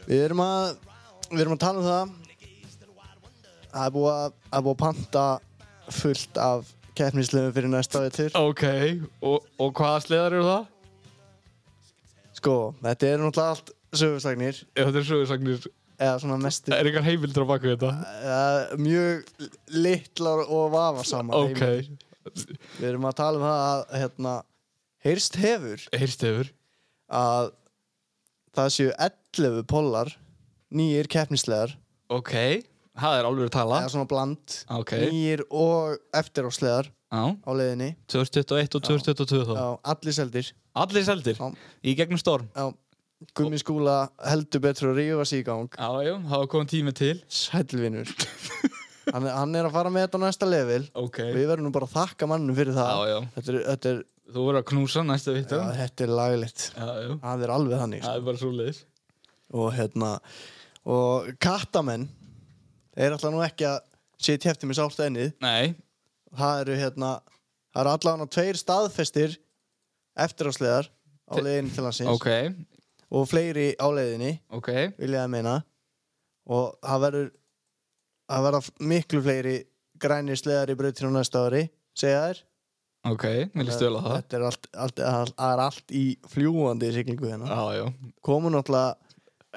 Við erum að, við erum að tala um það. Það er búið að, að, búið að panta fullt af keppnislefum fyrir næsta vettur.
Ok, og, og hvaða sleðar eru það?
Sko, þetta er náttúrulega allt sögursagnir.
Ef þetta er sögursagnir,
Eða svona mestu.
er einhver heimildur á baku þetta?
eða Mjög litlar og vafasamar.
Ok,
Við erum að tala um það að, hérna, heyrst hefur
heyrst yfir
að það séu 11 pollar, nýjir keppnislegar,
Ok, það er alveg að tala
eða svona bland,
Ah. Ok,
nýjir og eftiráslegar
já,
á leiðinni.
2021 og 2022 þá
Já, allir seldir.
Allir seldir,
Já.
í gegnum storm
Já, Gummi skúla heldur betur að rífa sig í gang.
Já, já, það var komin tími til
Sælvinur. hann, er- hann er að fara með þetta á næsta level.
Ok,
Við verðum nú bara að þakka mannum fyrir það.
já, já,
Þetta er, þetta er,
þú verður að knúsa næsta vitt
já,
Já,
þetta er laglegt.
já,
Það er alveg þannig. sko.
það er bara svo leiðis
Og hérna, og kattamenn er alltaf nú ekki að sitja hefti með sált ennið.
Nei,
það eru hérna það eru allavega tveir staðfestir eftiráslegar á
Te-
leiðinni til hansins
ok,
og fleiri á leiðinni
ok
vil ég að meina og það verður það verða miklu fleiri grænir sleðar í brautinu á næsta ári segja þær
Ok, mér líst vel að það
þetta er allt, allt, allt, það er allt í fljúandi siglingu hérna
Já, já,
komu náttúrulega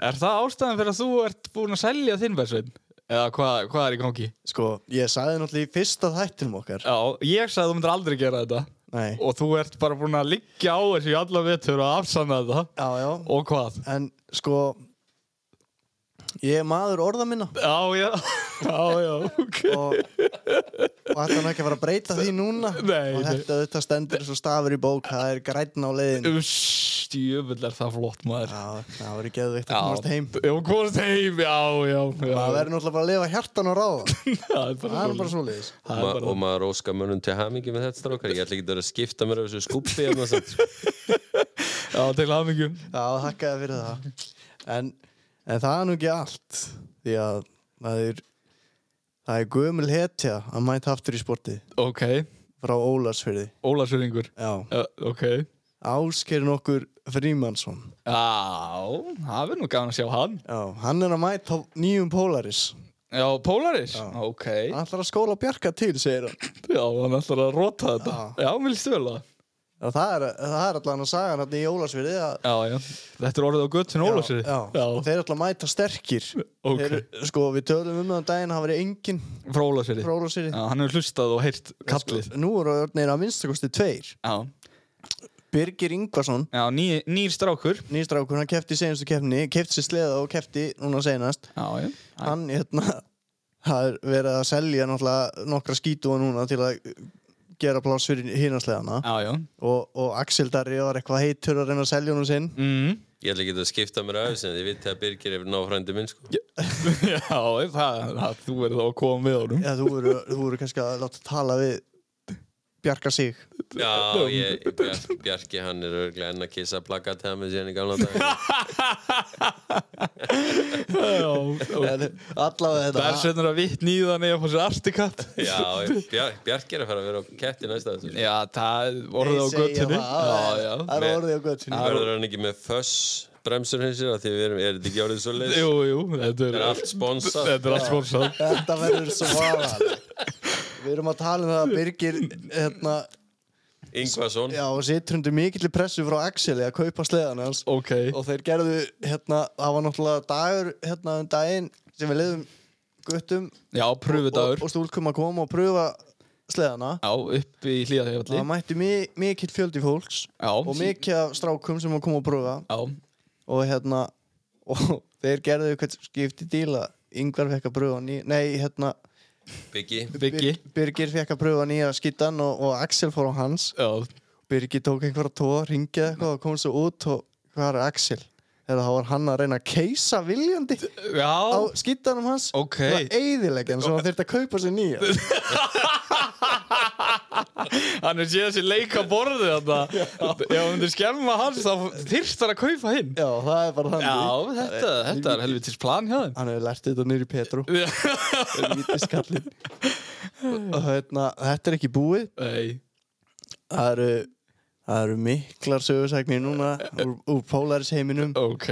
Er það ástæðan fyrir að þú ert búin að selja þinn bæsveinn? Eða hvað, hvað er í gangi?
sko ég sagði náttúrulega í fyrsta þættinum okkar
Já, ég sagði að þú myndir aldrei gera þetta
nei
og þú ert bara búin að liggja á þessu í alla vetur og afsanna þetta
já já
og hvað?
en sko ég er maður orða minna
Já, já, já, já, ok
og, og ætla hann ekki að fara að breyta því núna
Nei,
og
nei.
þetta auðvitað stendur svo stafur í bók það er græn á leiðin já,
Uss, djöfull er það flott maður
það verður geðvikt að komast heim
Já, komast heim, já, já, já
það verður náttúrulega bara að lifa hjartan og ráða
Það er
það
bara
er bara
svoleiðis.
svo
Það er
Ma, og
bara
maður óskar mönnum til hamingi með þetta strákar, ég ætla ekki að vera að skipta mér af þessu skúppi hérna samt, sko.
Já, til hamingjum
já, þakkaði fyrir það en, en það er nú ekki allt því að það er það er gömul hetja að mæta aftur í sporti
Ok,
frá Ólarsfyrði
Ólasöringur
já,
uh, Ok
áskerin okkur Frímannsson
Já, það verður nú gaman að sjá hann
já, hann er að mæta á nýjum Polaris
Já, Polaris,
Já.
ok
hann ætlar að skóla bjarga til, segir hann
Já, hann ætlar að rota þetta. Já, mér líst vel að.
Já, það er, það er allan að saga hann í Ólasviði að
Já, já. Þetta er orðið á göttinu Ólafsri.
já, já. þeir eru alltaf að mæta sterkir
ok.
þeir, sko við tölum um það um daginn að hafa verið engin
Frá Ólafsri.
frá Ólasviði
Já, hann hefur hlustað og heyrt kallið.
nú eru orðnir að minnstakosti tveir
Já,
Birgir Ingvarsson
já ný, nýr strákur.
nýstrákur, hann kefti í senastu keppni kefti sér sleða og kefti núna senast
Já, já. Æ,
hann hérna það er verið að selja náttúrulega nokkra skítuða núna til að gera pláss fyrir hinnasleðana
já, já.
og, og Axel Darri var eitthvað heitur að reyna að selja hún sinn
Mm.
ég ætla ekki að skipta mér af þessu en ég viti að Birgir er náfrændi minn sko.
já, það, það, þú verður þá að koma með honum.
Já, þú voru, þú voru kannski að láta tala við bjarga sig
Já, ég, Bjarki, Bjarki hann er örglega enn að kissa plakat það með síðan í gamla dag
En allavega þetta
Bersennur að vitt nýðan eða fór sér artikatt
Já, Bjar, Bjarki er að fara að vera á ketti næsta þessu
Já, það orðið á
Þeir segja
göttinni
það,
Já, já
Það er orðið á göttinni
Verður hann ekki með föss bremsur hins að því við erum, er þetta ekki árið svo leið?
Jú, jú, þetta
Það
er
er allt sponsað
Þetta er allt sponsað
Þetta verður svo varan Við erum að tala um það að Birgir hérna,
Ingvason
já, situr undir mikilli pressu frá Axeli að kaupa sleðan hans
Ok
og þeir gerðu, hérna, það var náttúrulega dagur hérna um daginn sem við leiðum guttum
Já, pröfudagur
og, og stúlkum að koma og pröfa sleðana
Já, upp í hlýðahefalli
Það mætti mi mikill fjöldi fólks
Já,
og mikið af strákum sem að koma og pröfa
Já,
og hérna og þeir gerðu eitthvað skipti díla yngvar fekk að pröfa ný, nei hérna
Biggi
Biggi
Bir- Birgir fekk að pröfa nýja skittan og, og Axel fór á hans
Já,
Birgir tók einhverja tóa, ringið eitthvað og kom svo út og hvað er Axel þegar það var hann að reyna að keisa viljandi á
já
skittanum hans
Ok.
það var eiðilegjan svo hann þurfti að kaupa sér nýja
Hann er síðan sér leika borðið þarna Ef hann myndir skemma hans þá þyrst hann að kaupa hinn
já það er bara
Já,
þannig
þetta, þetta er helvitis plan hjá þeim
hann hefur lært þetta niður í Petru Vítiskallin og hérna, þetta er ekki búið
Nei
það eru, það eru miklar sögursæknir núna úr, úr Polaris heiminum
Ok,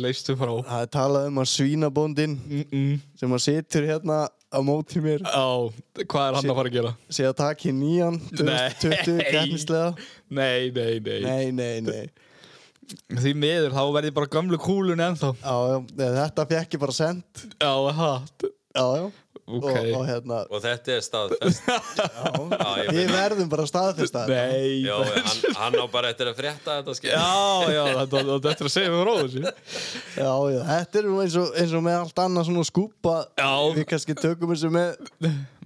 leistu frá
það er talað um að svínabóndin
mm -mm.
sem að situr hérna á móti mér
Já, hvað er hann að fara að gera?
sé að taki nýjan 2020
Nei.
keppnislega
Nei, nei, nei,
nei, nei, nei
Því miður, þá verði bara gamlu kúlun ennþá
já, já, nei, þetta fekk ég bara sendt
Já, það
já, já
Ok
og, og hérna
Og þetta er staðfest Já, ég
við
meina-
verðum bara að staðfesta þetta.
Nei
Já, hann, hann á bara eftir að frétta þetta skil
Já, já, þetta þetta er að segja mér frá þessu
já, já, þetta er nú eins og, eins og með allt annað svona skúpa
Já.
við kannski tökum þessu með,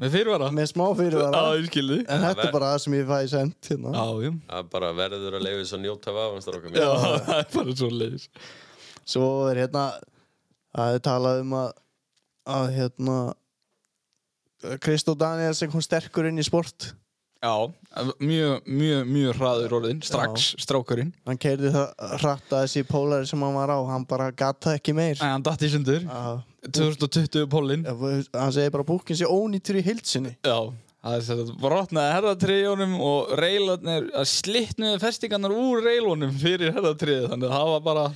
Með fyrirvara
með smá fyrir
Já, ég skilði
en þetta er bara það sem ég fæ sendt hérna.
Já, já
Það bara verður að leifa þess að njóta af hans
Já,
stráka mín
það er bara svo leiðis
svo er hérna það er talað um að að hérna Kristó Daniels sem kom sterkur inn í sport
Já, mjög, mjög, mjög hraður orðin Strax, strákurinn
hann keirði það hratt að þessi pólari sem hann var á hann bara gata ekki meir
Nei, hann datt í sundur
að,
2020 pólinn
hann segi bara búkin sé ónýttur í hildsinni
Já, það er þetta brotnaði herðatriðjónum og reilarnir að slitnuði festingarnar úr reilunum fyrir herðatriðið þannig að það var bara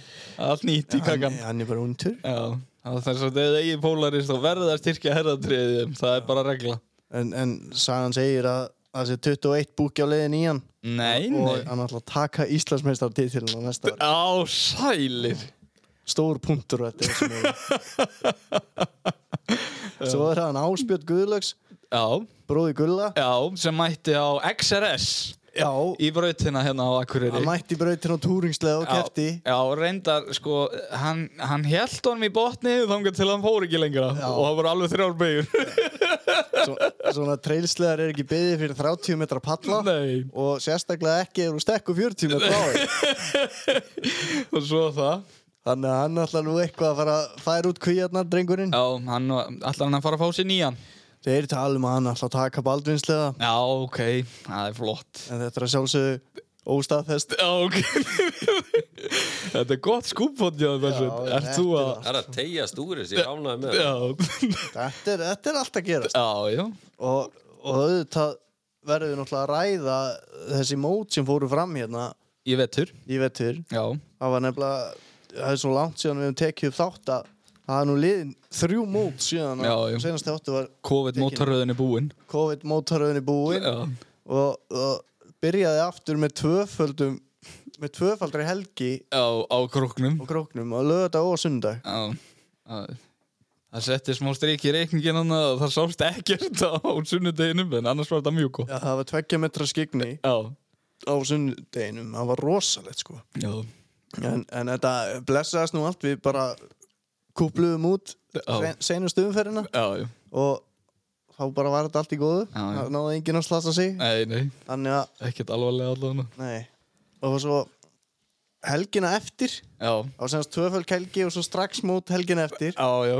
allt nýtt í
hann,
kakkan
hann er bara ónýttur
Já, það er þess að ef það eigi pólarist þá verða það styrkja herðatriðið það er bara regla
en, en sagan segir að það sé 21 búki á leiðin í hann
Nei,
og
nei
hann ætla að taka Íslandsmeistar á næsta ári
Á, sælir
stór punktur á þetta sem er. svo er hann áspjött Guðlöks
Já,
bróði Gulla
já, sem mætti á XRS
já,
í brautina hérna á Akureyri
hann mætti brautin á túringslega og
Já,
kefti
Já, reyndar, sko, hann, hann held honum í botni þangar til hann fór ekki lengra og það voru alveg þrjár beigur
Svo, svona trailslegar er ekki byggðið fyrir 30 metra palla
Nei,
og sérstaklega ekki ef þú stekku 40 metra á því
og svo það
þannig að hann ætla nú eitthvað að fara að færa út kvíarnar drengurinn
Já, hann allar hann að fara að fá sér nýjan
þeir tala um að hann ætla að taka baldvinslega
Já, ok, það er flott
en þetta er að sjálfsögðu óstaðfest
Já, ok Þetta er gott skúpfótt, já, þessu
Já,
Ert þú
þetta er
að
Það er að tegja stúris, ég ánæði með það
Já,
þetta er, þetta er allt að gerast
já, já
og, og auðvitað verðum við náttúrulega að ræða þessi mót sem fóru fram hérna
Ég vetur,
í vettur
já
það var nefnilega, það er svo langt síðan við höfum tekið upp þátt að það er nú liðin þrjú mót síðan
Já,
að
já.
senast þáttu var
COVID-mótaröðin er búinn
COVID-mótaröðin í búin
Já,
og, og byrjaði aftur með tvöföldum með tvöfaldri helgi
já, á króknum
og króknum og lögðað og sundag
Já, já. það setti smá strik í reikningin hann og það sást ekkert á sunnudeginum en annars var þetta mjög gott.
Já, það var tveggja metra skikni
Já,
á sundeginum, það var rosalegt sko
já,
en, en þetta blessaðast nú allt, við bara kúpluðum út
Já.
sen, senust umferðina
já, já,
og þá bara var þetta allt í góðu
Já, já.
það náði enginn að slasa sig
nei, nei,
þannig að,
ekkert alvarlega allavega.
nei og svo helgina eftir
Já,
á semst tvöföld helgi og svo strax mót helgina eftir
já, já,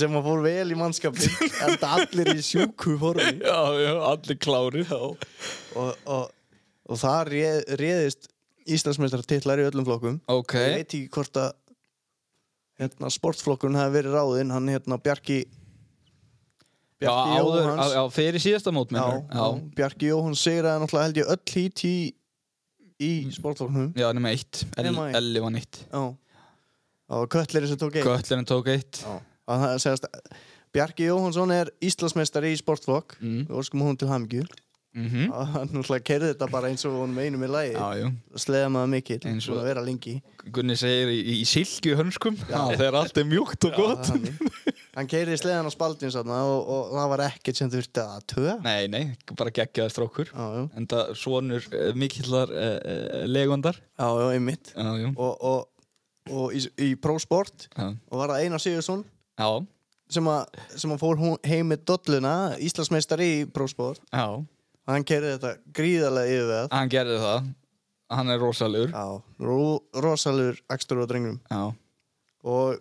sem að fór vel í mannskapin en það allir í sjúku formi
Já, já, allir klári Já,
og, og, og það réð, réðist Íslandsmeistar titlar í öllum flokkum
ok
ég veit ekki hvort að hérna, sportflokkurinn hafi verið ráðinn hann hérna Bjarki
Já,
Bjarki
áður,
Jóhanns
á, já, fyrir síðasta mót
já,
meinar.
já, Bjarki Jóhann sigraði náttúrulega held ég öll hít í, í
Mm.
sportflokknum
já, já, nema eitt El-
Nema eitt.
Elli var nýtt
já og Kötlerinn sem tók eitt
Götlerinn tók eitt
Já. að það segast Bjarki Jóhansson er Íslandsmeistari í sportflokk
Mm.
við óskum hún til hamingju
Mhm.
að hann náttúrulega kerði þetta bara eins og hún meinum í lagi
Já, jú
sleða maður mikill
Eins og-
búin að vera lengi
Gunni segir í, í silkju hönskum já. þegar allt er mjúkt og
Það
gott
er þannig. hann keirði sleðan á spaldin satna, og, og það var ekkert sem þurfti að töða
Nei, nei, bara geggjaði strókur
já, já,
En það svonur uh, mikillar uh, uh, legundar
já, já, einmitt
Já, jú
og, og, og í, í prósport
Já,
og var það Einar Sigursson
já,
sem að, sem að fór hún heim með dolluna Íslandsmeistari í prósport
já.
hann keirði þetta gríðarlega yfir það
Hann gerði það Hann er rosalur Já,
já, ro, rosalur akstur á drengnum
já,
og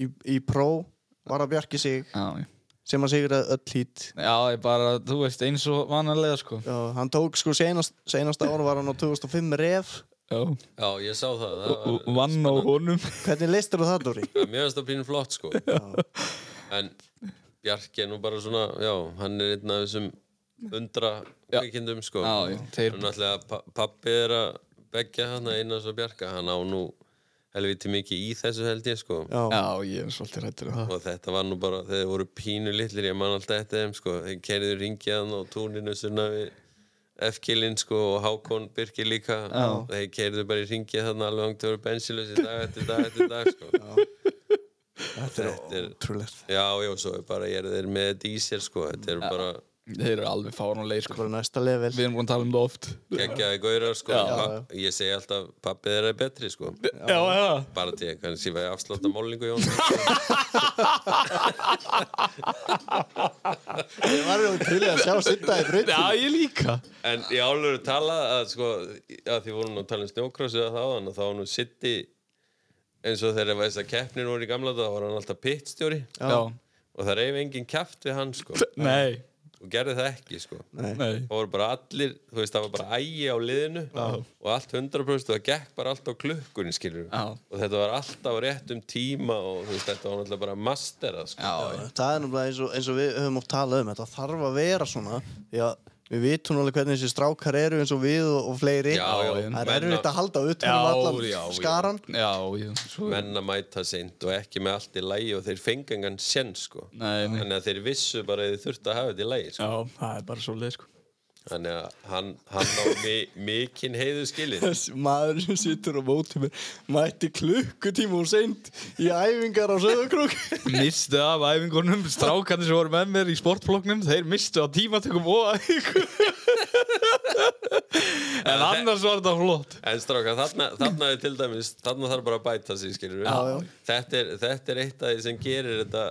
í, í pró var að bjarki sig
já
sem að sigraði öll hít
Já, ég bara, þú veist, eins og vanalega sko
og hann tók sko senast, senast ára var hann á 2005 ref
Já,
Já, ég sá það, það var,
og vann á honum
hvernig listur þú það Dóri?
það var mjög veist að pínu flott sko En Bjarki er nú bara svona, já, hann er einn af þessum undra kvikindum sko
Já, já, þeir-
Hann alltaf, pa pappi er að begja hann að eina svo Bjarka, hann á nú helviti mikið í þessu held ég sko
Já,
Já, ég er svolítið rættur um það
og þetta var nú bara, þeir voru pínu litlir ég man alltaf eftir þeim sko, þeir kerðu ringjaðan á túninu sinna við F-killin sko og Hákon Birki líka
Já.
þeir kerðu bara í ringið þarna alveg hangt þeir voru bensilösi dag eftir dag eftir dag sko já,
þetta
þetta
er
er-
ótrúlegt
já, svo er bara ég er þeir með dísel sko, þetta er bara
Þeir eru alveg fáránleir sko
bara næsta level
Við erum búin að tala um það oft
geggjaði gaurar sko
Já.
Papp, ég segi alltaf, pappi þeirra er betri sko
Já, já
bara til ég kannski væri afslátt af málningu Jón
það var ótrúlega að sjá sitta í brutt
Já, ég líka
En ég álur að tala að sko, að því vorum nú að tala um snjókrossu að þá, en þá var nú City eins og þegar þess að keppnir voru í gamla dag, þá var hann alltaf pittstjóri
Já,
og það reyf enginn kæft við hann sko
nei,
og gerði það ekki sko.
nei
Það voru bara allir, þú veist, það var bara ægi á liðinu og allt 100% og það gekk bara allt á klukkunni, skilur
Já.
og þetta var alltaf á réttum tíma og þú veist, þetta var náttúrulega bara masterað sko.
Já,
það er náttúrulega eins og, eins og við höfum oft talað um þetta þarf að vera svona því að við vitum alveg hvernig þessi strákar eru eins og við og, og fleiri
Já, já.
það er
Menn
erfitt
að-
að halda
Já,
utanum
já, já.
allan skaran
Já, já, svo
menn að mæta seint og ekki með allt í lægi og þeir fengi engan senn sko.
Nei, nei.
þannig að þeir vissu bara að þeir þurftu að hafa þetta í lægi sko.
Já, það er bara svo leið sko
þannig að hann, hann á mi mikinn heiðu skilið
Þessi maður sem situr á móti mér mætti klukkutíma og seint í æfingar á söðukrúk
Mistu af æfingunum, strákarnir sem voru með mér í sportfloknum Þeir mistu af tímatökum og æfingu En annars var þetta flott
en stráka, þarna, þarna er til dæmis þarna þarf bara að bæta sig skilur
Já, já.
þetta, er, þetta er eitt af því sem gerir þetta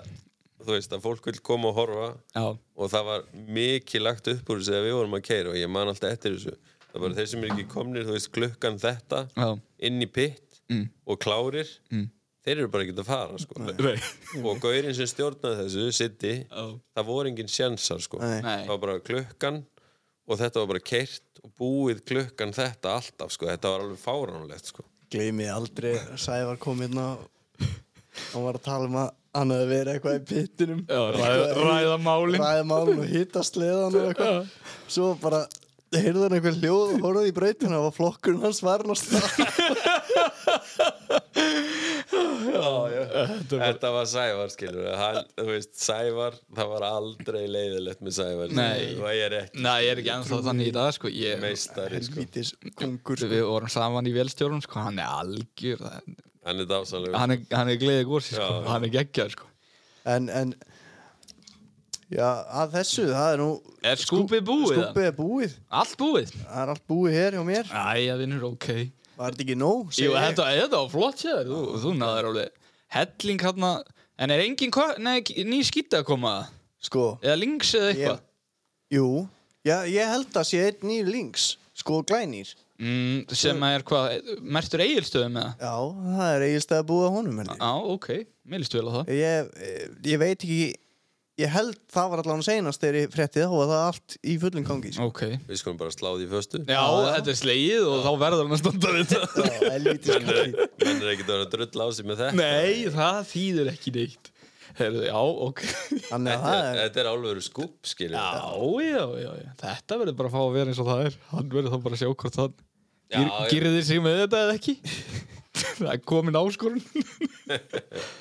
þú veist að fólk vil koma og horfa
Já,
og það var mikið lagt upp úr þessu þegar við vorum að keira og ég man alltaf eftir þessu það var þeir sem er ekki komnir, þú veist, klukkan þetta
Já.
inn í pitt og klárir þeir eru bara ekki að fara sko.
nei
og gaurinn sem stjórnaði þessu, City
Já.
það voru engin sjansar sko.
Nei.
Nei.
það var bara klukkan og þetta var bara keirt og búið klukkan þetta alltaf, sko. þetta var alveg fáránlegt sko.
Gleimi aldrei að Sævar kom hérna og hann var að tala um að hann hefði verið eitthvað í pittinum
Já, ræða- ræða málin.
Ræða málin og hitta sleðan og eitthvað Svo bara heyrði hann eitthvað hljóð og horfði í brautina og var flokkurinn hans varin á stað
þetta var Sævar skilur hann, þú veist, Sævar, það var aldrei leiðilegt með Sævar
Nei.
það er ekki
Nei, ég er ekki ennþá þannig í dag sko ég,
meistari sko.
Vítis kongur
Við vorum saman í velstjórnum sko Hann er algjör það-
hann er dásanlega
Hann er, hann er gleðið gósi sko
Já, já.
Hann er geggjað sko
En, en Já, að þessu, það er nú
Er skúpið búið?
Skúpið er búið
Allt búið?
Það er allt búið hér hjá mér
Æja, vinnur, ok
Var þetta ekki nóg? segi
Jú,
ég.
þetta, þetta var flott sér, þú, þú náður alveg helling hérna, en er engin kö- nei, ný skýta að koma
Sko
eða links eða eitthvað
Jú, já, ég held að sé einn nýr links, sko glænýr
Mm, sem er hvað, mertur eigilstöðum eða?
Já, það er eiginstæð að búa honum held ég.
Já, ok, mér líst vel á það.
ég eh, Ég veit ekki Ég held það var allan seinast þegar ég frétti þá var það allt í fullum gangi sko.
Ok.
Við skulum bara slá því föstu.
Já, þetta er slegið og þá verður hann að standa við þetta.
Já, helvítis kalli.
Menn er ekkert að vera að drull á sig með þetta.
Nei, það þýður ekki neitt. Herðu, já, ok.
Þannig að
Þetta
það
er,
er
þetta er alveg skúp, skilur.
Já, já, já, já. Þetta verður bara að fá að vera eins og það er. Hann verður þá bara að sjá hvort hann
Já,
gir,
já.
girðir sig með þetta eða ekki. það er komin áskorun.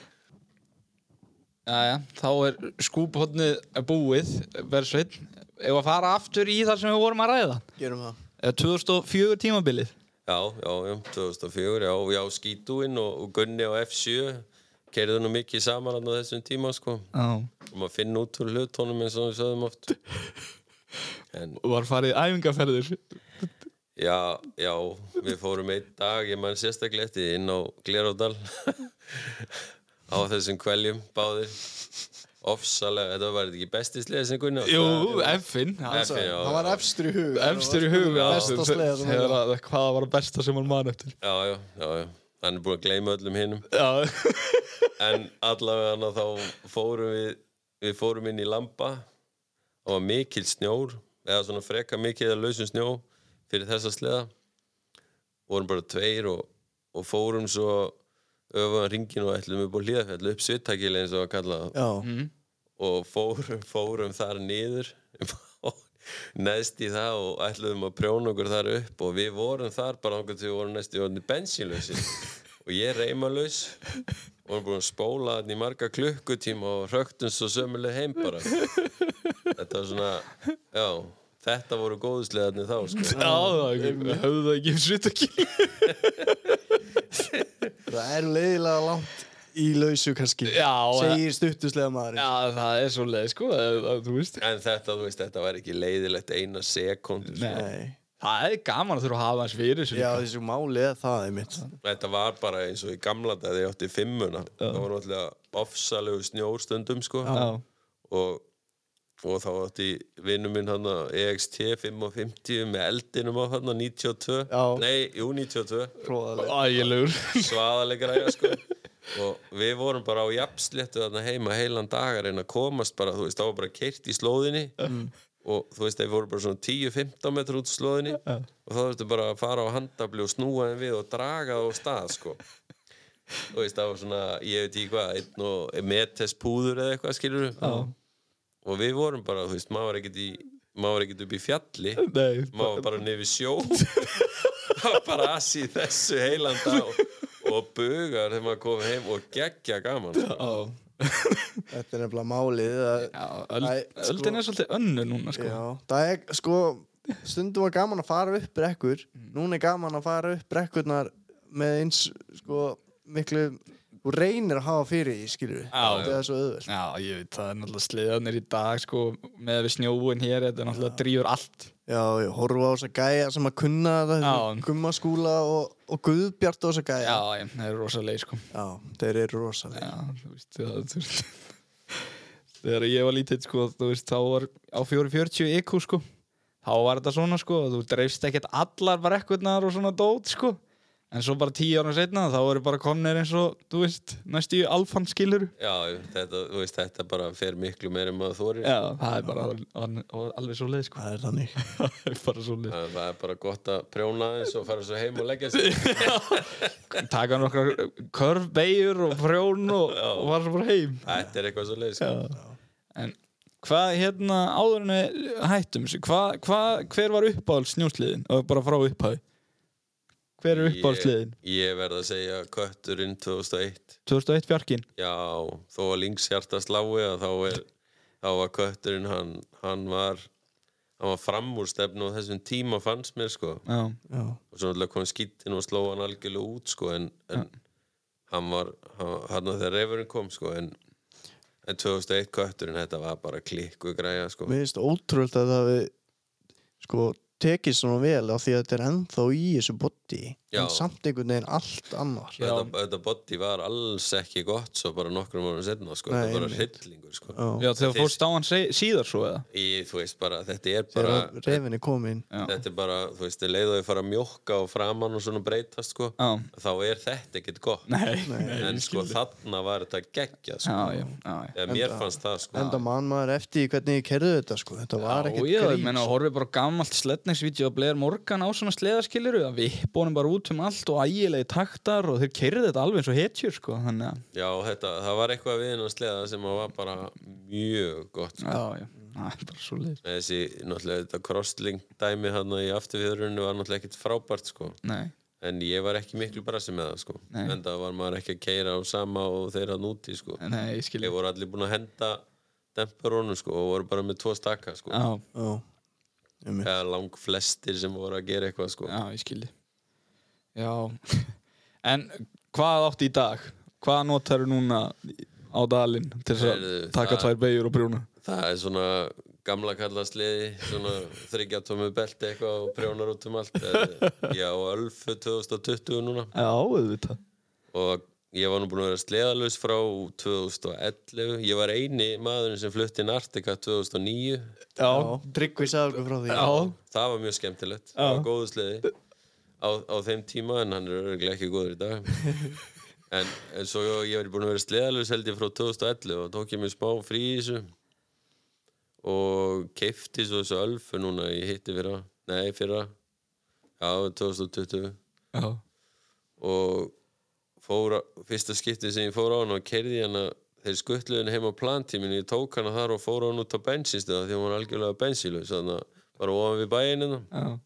Jæja, þá er skúphotnið búið, verðsveit. Ef að fara aftur í það sem við vorum að ræða.
Gerum það
Eða 2004 tímabilið.
Já, já, já, 2004, já, já, skítúinn og, og Gunni á F7 kerðu nú mikið saman þarna á þessum tíma, sko.
Já.
Og maður finn út úr hlutónum eins og við sögðum oft. En
Var farið æfingaferðir.
já, já, við fórum einn dag, ég man sérstaklega eftir því, inn á Glerárdal á þessum kveljum báðir. Ofsalega, þetta var ekki bestislega sem Gunni átti,
Jú,
eða?
F-in. hann
F-in, já,
Það var
já.
efstur í hug
efstur í hug
Besta sleða sem við
þegar að- hvað var besta sem hann man eftir
Já, já, já, já. Hann er búin að gleyma öllum hinnum.
já,
En allavega þá fórum við, við fórum inn í Lamba. Það var mikil snjór, eða svona freka mikil að lausum snjó fyrir þessa sleða. Vorum bara tveir og, og fórum svo öfaðan ringin og ætlum upp á hlíðafjallu upp svittakili eins og að kalla það.
Já,
Mhm.
Og fórum, fórum þar niður, neðst í það og ætluðum að prjóna okkur þar upp og við vorum þar bara okkur til við vorum næstu orðin bensinlösi og ég reymalös og hann búin að spóla hann í marga klukkutíma og hröktum svo sömuleg heim bara þetta var svona já, þetta voru góðslegarnir þá sko.
já það höfðu það ekki svitt ekki
það er leiðilega langt í lausu kannski
Já,
Segir stuttuslega maður
já, það er svo leið sko að, að, þú veist
en þetta, þú veist, þetta var ekki leiðilegt eina sekund sko.
Nei
það er gaman að þurfa að hafa hans fyrir sér
Já, þessu málið það er mitt
þetta var bara eins og í gamla dag þegar ég átti fimmuna það var náttúrulega ofsalegu snjórstundum sko.
Já.
og og þá átti vinnu minn E hann EXT 550 með eldinum á hann 92,
Já.
nei, jú 92
Hróðalega
ægilegur
svaðaleg græja sko og við vorum bara á jafnsléttu þarna heima heilan dagar en að komast bara þú veist, þá var bara keirt í slóðinni og þú veist, þeir voru bara svona 10-15 metrur út úr slóðinni og þá þurftu bara að fara á handafli og snúa þeim við og draga það á stað sko þú veist, það var svona, ég veit ekki hvað einn og metes púður eða eitthvað skilur og við vorum bara, þú veist, maður var ekkert í maður var ekkert upp í fjalli
Nei,
maður var bara nefnir sjó það var bara ass í þessu heilan dag og bugar þegar maður kom heim og geggja gaman sko.
já,
Þetta er nefnilega málið að,
já öld,
Æ, sko-
öldin er svolítið önnu núna sko
Já, það er sko stundum var gaman að fara upp brekkur
Mm.
núna er gaman að fara upp brekkurnar með eins sko miklu, þú reynir að hafa fyrir því skilur við,
Já,
það er svo auðvöld
Já, ég veit, það er náttúrulega sleiðanir í dag sko, með við snjóin hér, þetta er náttúrulega drýjur allt
Já, ég horfa á þess að gæja sem að kunna
Já.
þetta gummaskúla og, og guðbjart á þess að gæja
Já, ég, það er rosa leið sko
Já, þeir eru rosalega
Já, þú veist, það þú veist Þegar ég var lítill, sko, þú veist, þá var á 440 IQ, sko Þá var þetta svona, sko, þú dreifst ekkert allar brekkurnar og svona dót, sko En svo bara tíu ára setna, þá eru bara komnir eins og, þú veist, næstu í alfann skilur
já, þetta, þú veist, þetta bara fer miklu meira en maður þorir
Já, það er bara al- al- alveg svo leið, sko
Það er þannig
Það er bara svo leið
það það er bara gott að prjóna eins og fara svo heim og leggja sig
Taka hann okkar körfbeigur og frjón og, og var svo bara heim
þetta er eitthvað svo leið sko.
En hvað hérna áður en við hættum þessu, hvað, hvað, hver var uppáhalds snjósliðin og bara frá upphæði? Hver er uppáhaldsliðin?
ég verð að segja kötturinn 2001
2001 fjarkinn?
já, þó að Lings hjarta slái að þá er þá var kötturinn hann, hann var hann var framúrstefnu á þessum tíma fannst mér sko
Já,
Já,
og svo náttúrulega kom skittin og sló hann algjörlega út sko en, en hann var hann hann að þegar refurinn kom sko en, en 2001 kötturinn þetta var bara klikku græja sko
mér finnst ótrúld að það við sko tekið svona vel á því að þetta er ennþá í þessu boddi
Já.
en samt einhvern veginn allt annar
Já.
Þetta, þetta body var alls ekki gott svo bara nokkrum árum setna sko.
Nei,
þetta var bara
einmitt.
hryllingur sko.
já,
Já, þegar þú fórst á hann se- síðar svo eða
í, þú veist bara, þetta er bara
þegar reyfinni kom inn
Já,
þetta er bara, þú veist, leið og ég fara að mjólka og framan og svona breytast sko.
já.
þá er þetta ekkert gott
Nei, nei
en sko þarna var þetta geggjað sko.
Já, já, já, já.
Eða mér fannst það sko.
enda mann maður eftir því hvernig ég kerði þetta sko. þetta var
Já,
ekkert
já, ég
grín
meina,
sko.
horfið bara á gamalt sletningsvídeó að Blair Morgan á svona sleðaskiliru að við bónum bara út um allt og ægilegi taktar og þeir keirðu þetta alveg eins og hetjur, sko, þannig að,
já, þetta, það var eitthvað við hennar sleða sem var bara mjög gott sko.
já, já, það er bara svo leiðis.
Með þessi, náttúrulega, þetta crosslink dæmi hann í afturfjöðrunni var náttúrulega ekkert frábært sko.
Nei,
en ég var ekki miklu brasi með það sko.
Nei.
en það var maður ekki að keira á sama og þeirra núti sko.
nei, ég skil
ég voru allir búin að henda demparunum sko, og voru bara með tvo stakka sko.
Já,
já, um
eða lang flestir sem voru að gera eitthvað sko.
já, ég skil Já, en hvað átt í dag? Hvað notar núna á dalinn til þess að
Heyrðu,
taka
það-
tvær beigur og brjóna?
það er svona gamla kalla sliði svona þryggjartómi belti eitthvað og prjónar út um allt Eh, ég á Ölfu 2020 núna
Já, auðvitað.
og ég var nú búin að vera sleðalus frá 2011 ég var eini maðurinn sem flutti inn Artika 2009
Já,
Tryggvi sagði okkur frá því
já,
það var mjög skemmtilegt,
Já.
það var góðu sleði á, á þeim tíma en hann er örgulega ekki góður í dag en, en svo ég var búin að vera sleðalus held ég frá 2011 og tók ég mér smá frí í þessu og keifti svo þessu ölfu núna ég hitti fyrra, nei fyrra já, 2020
já.
og fór, á- fyrsta skiptið sem ég fór á hann og kerði hann að þeir skuttluðu hann heim á plantíminu, ég tók hann þar og fór hann út á bensinstöða því að hún var algjörlega bensinlaus þannig að bara ofan við bæinu og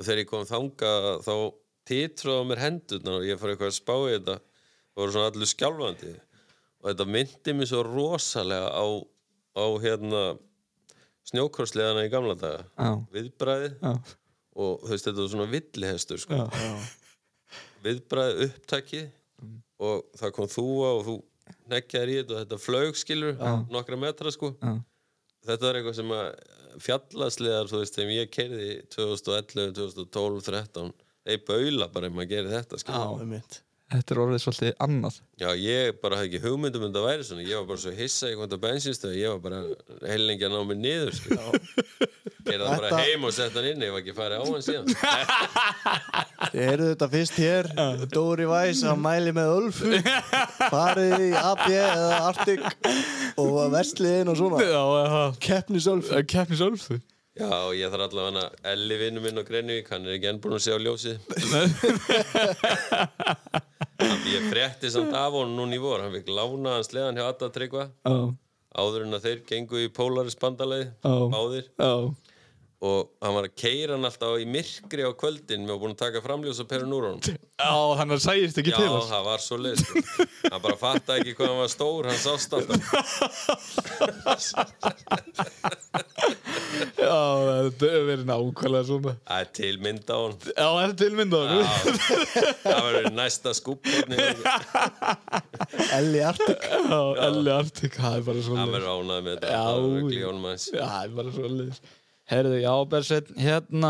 já.
þegar ég kom þanga þá titruðu á mér hendurnar og ég fór eitthvað að spá í þetta og voru svona allir skjálfandi og þetta myndi mér svo rosalega á, á hérna snjókorsleðana í gamla daga
Já.
viðbræði
Já.
og þú veist þetta var svona villihestur sko
Já.
viðbræði upptaki og það kom þúa og þú nekkjaðir í þetta og þetta flaug skilur nokkra metra sko
Já.
þetta var eitthvað sem að fjallaslegar þú veist þegar ég kerði 2011, 2012, 13 þeir baula bara ef maður gerir þetta skilur
Já.
um
Þetta er orðið svolítið annað.
Já, ég bara hafði ekki hugmyndum en það væri svona, ég var bara svo hissa í hvort að bensinstöð ég var bara heilengi að ná mig niður sko. gerði það bara
Þetta-
heim og sett hann inn ég var ekki farið á hann síðan
Þið heyrðu þetta fyrst hér Dóri Væs að mæli með Ölfu farið í AB eða Arctic og vestliðin og svona
Já,
keppnis Ölfu
já. Keppni sölfu.
Já, ég þarf allavega hann að Elli vinnu minn á Grenvík, hann er ekki enn búinn að sjá ljósið. Hann- ég frétti samt af honum núna í vor, hann fikk lána hans leðan hjá Adda Tryggva
Já,
áður en að þeir gengu í Polaris bandalagi,
Ó.
báðir
já.
og hann var að keira hann alltaf í myrkri á kvöldin með að búin að taka framljós á perun úr honum.
Já, hann sæðist ekki
Já,
til hans.
það var svo leið sko. Hann bara fattaði ekki hvað hann var stór, hann sást alltaf
Já, þetta hefur verið nákvæmlega svona.
Það er til mynd á hann
Já, þetta er tilmyndaður.
Það verður næsta skúpotni Hann
Elli Arctic
Já, Elli Artik, það er bara svona.
verður ánað með þetta
Já.
Það verður glíðan maður
Já, það er bara svolítið. Herðu, já, Bersett, hérna,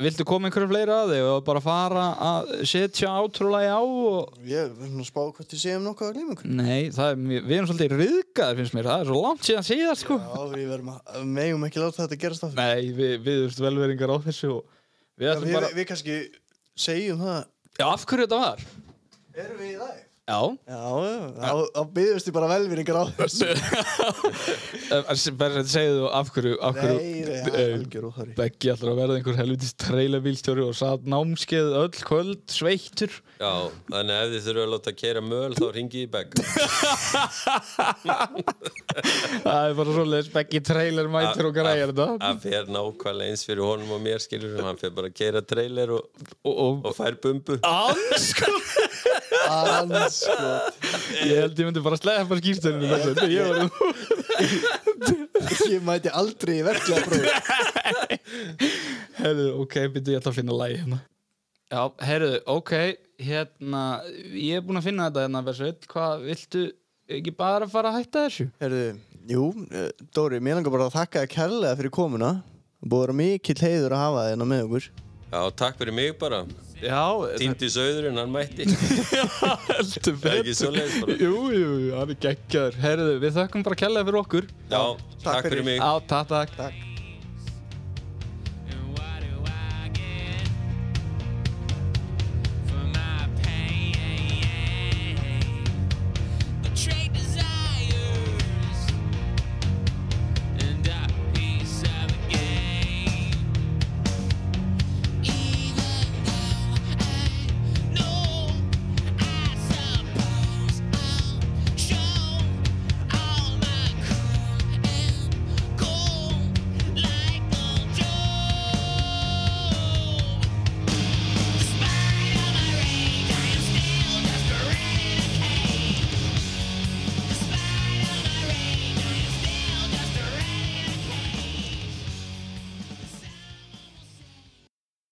viltu koma einhverju fleira að þig og bara fara að setja átrúlega á og...
Ég er svona að spá hvort þið séum nokkuð að um gleyma ykkur
Nei, það er, mjög- við erum svolítið riðgaðir, finnst mér, það er svo langt síðan síðast, sko.
Já, við verðum að megum ekki láta þetta gerast aftur
Nei, við, við erum velveringar á þessu og við
Já,
ætlum
við,
bara...
við kannski segjum það
Já, af hverju þetta var?
Erum við í live?
Já,
Já, já, þá- þá byggðust þið bara velvinningar á þessu
Eh, bara segðu þú af hverju, af
Nei,
hverju
nei, það er algjör úþari
Beggi alltaf að verða einhver helvitis treylabílstjóri og satt námskeið öll kvöld, sveittur
Já, þannig ef þið þurfa að láta keira möl þá ringi í Begga
Það er bara svoleiðis, Beggi treylar mætir og græjar þetta
Það fer nákvæmlega eins fyrir honum og mér skilur hann fer bara að keira trailer og,
Og, og
og fær bumbu
Anskot!
Anskot
Ég held ég myndi bara sleppa skýrstæðinu með þetta Ég var nú
Ég mæti aldrei í verklega prófi
Herðu, ok, byrju ég ætla að finna lægi hérna Já, herðu, ok Hérna, ég er búinn að finna þetta hérna Bersveit, hvað, viltu ekki bara fara að hætta þessu?
Herðu, jú, eh, Dóri, mér langar bara að þakka þér kærlega fyrir komuna Búið að vera mikill heiður að hafa þérna með okkur
Já, Já, takk fyrir mig bara.
Já,
Týndi söðurinn, hann mætti.
heldur
Er ekki svoleiðis bara?
Jú, jú, jú, hann er geggjaður Herðu, við þökkum bara kærlega fyrir okkur
Já, takk
fyrir.
fyrir mig.
Á, takk, takk
Takk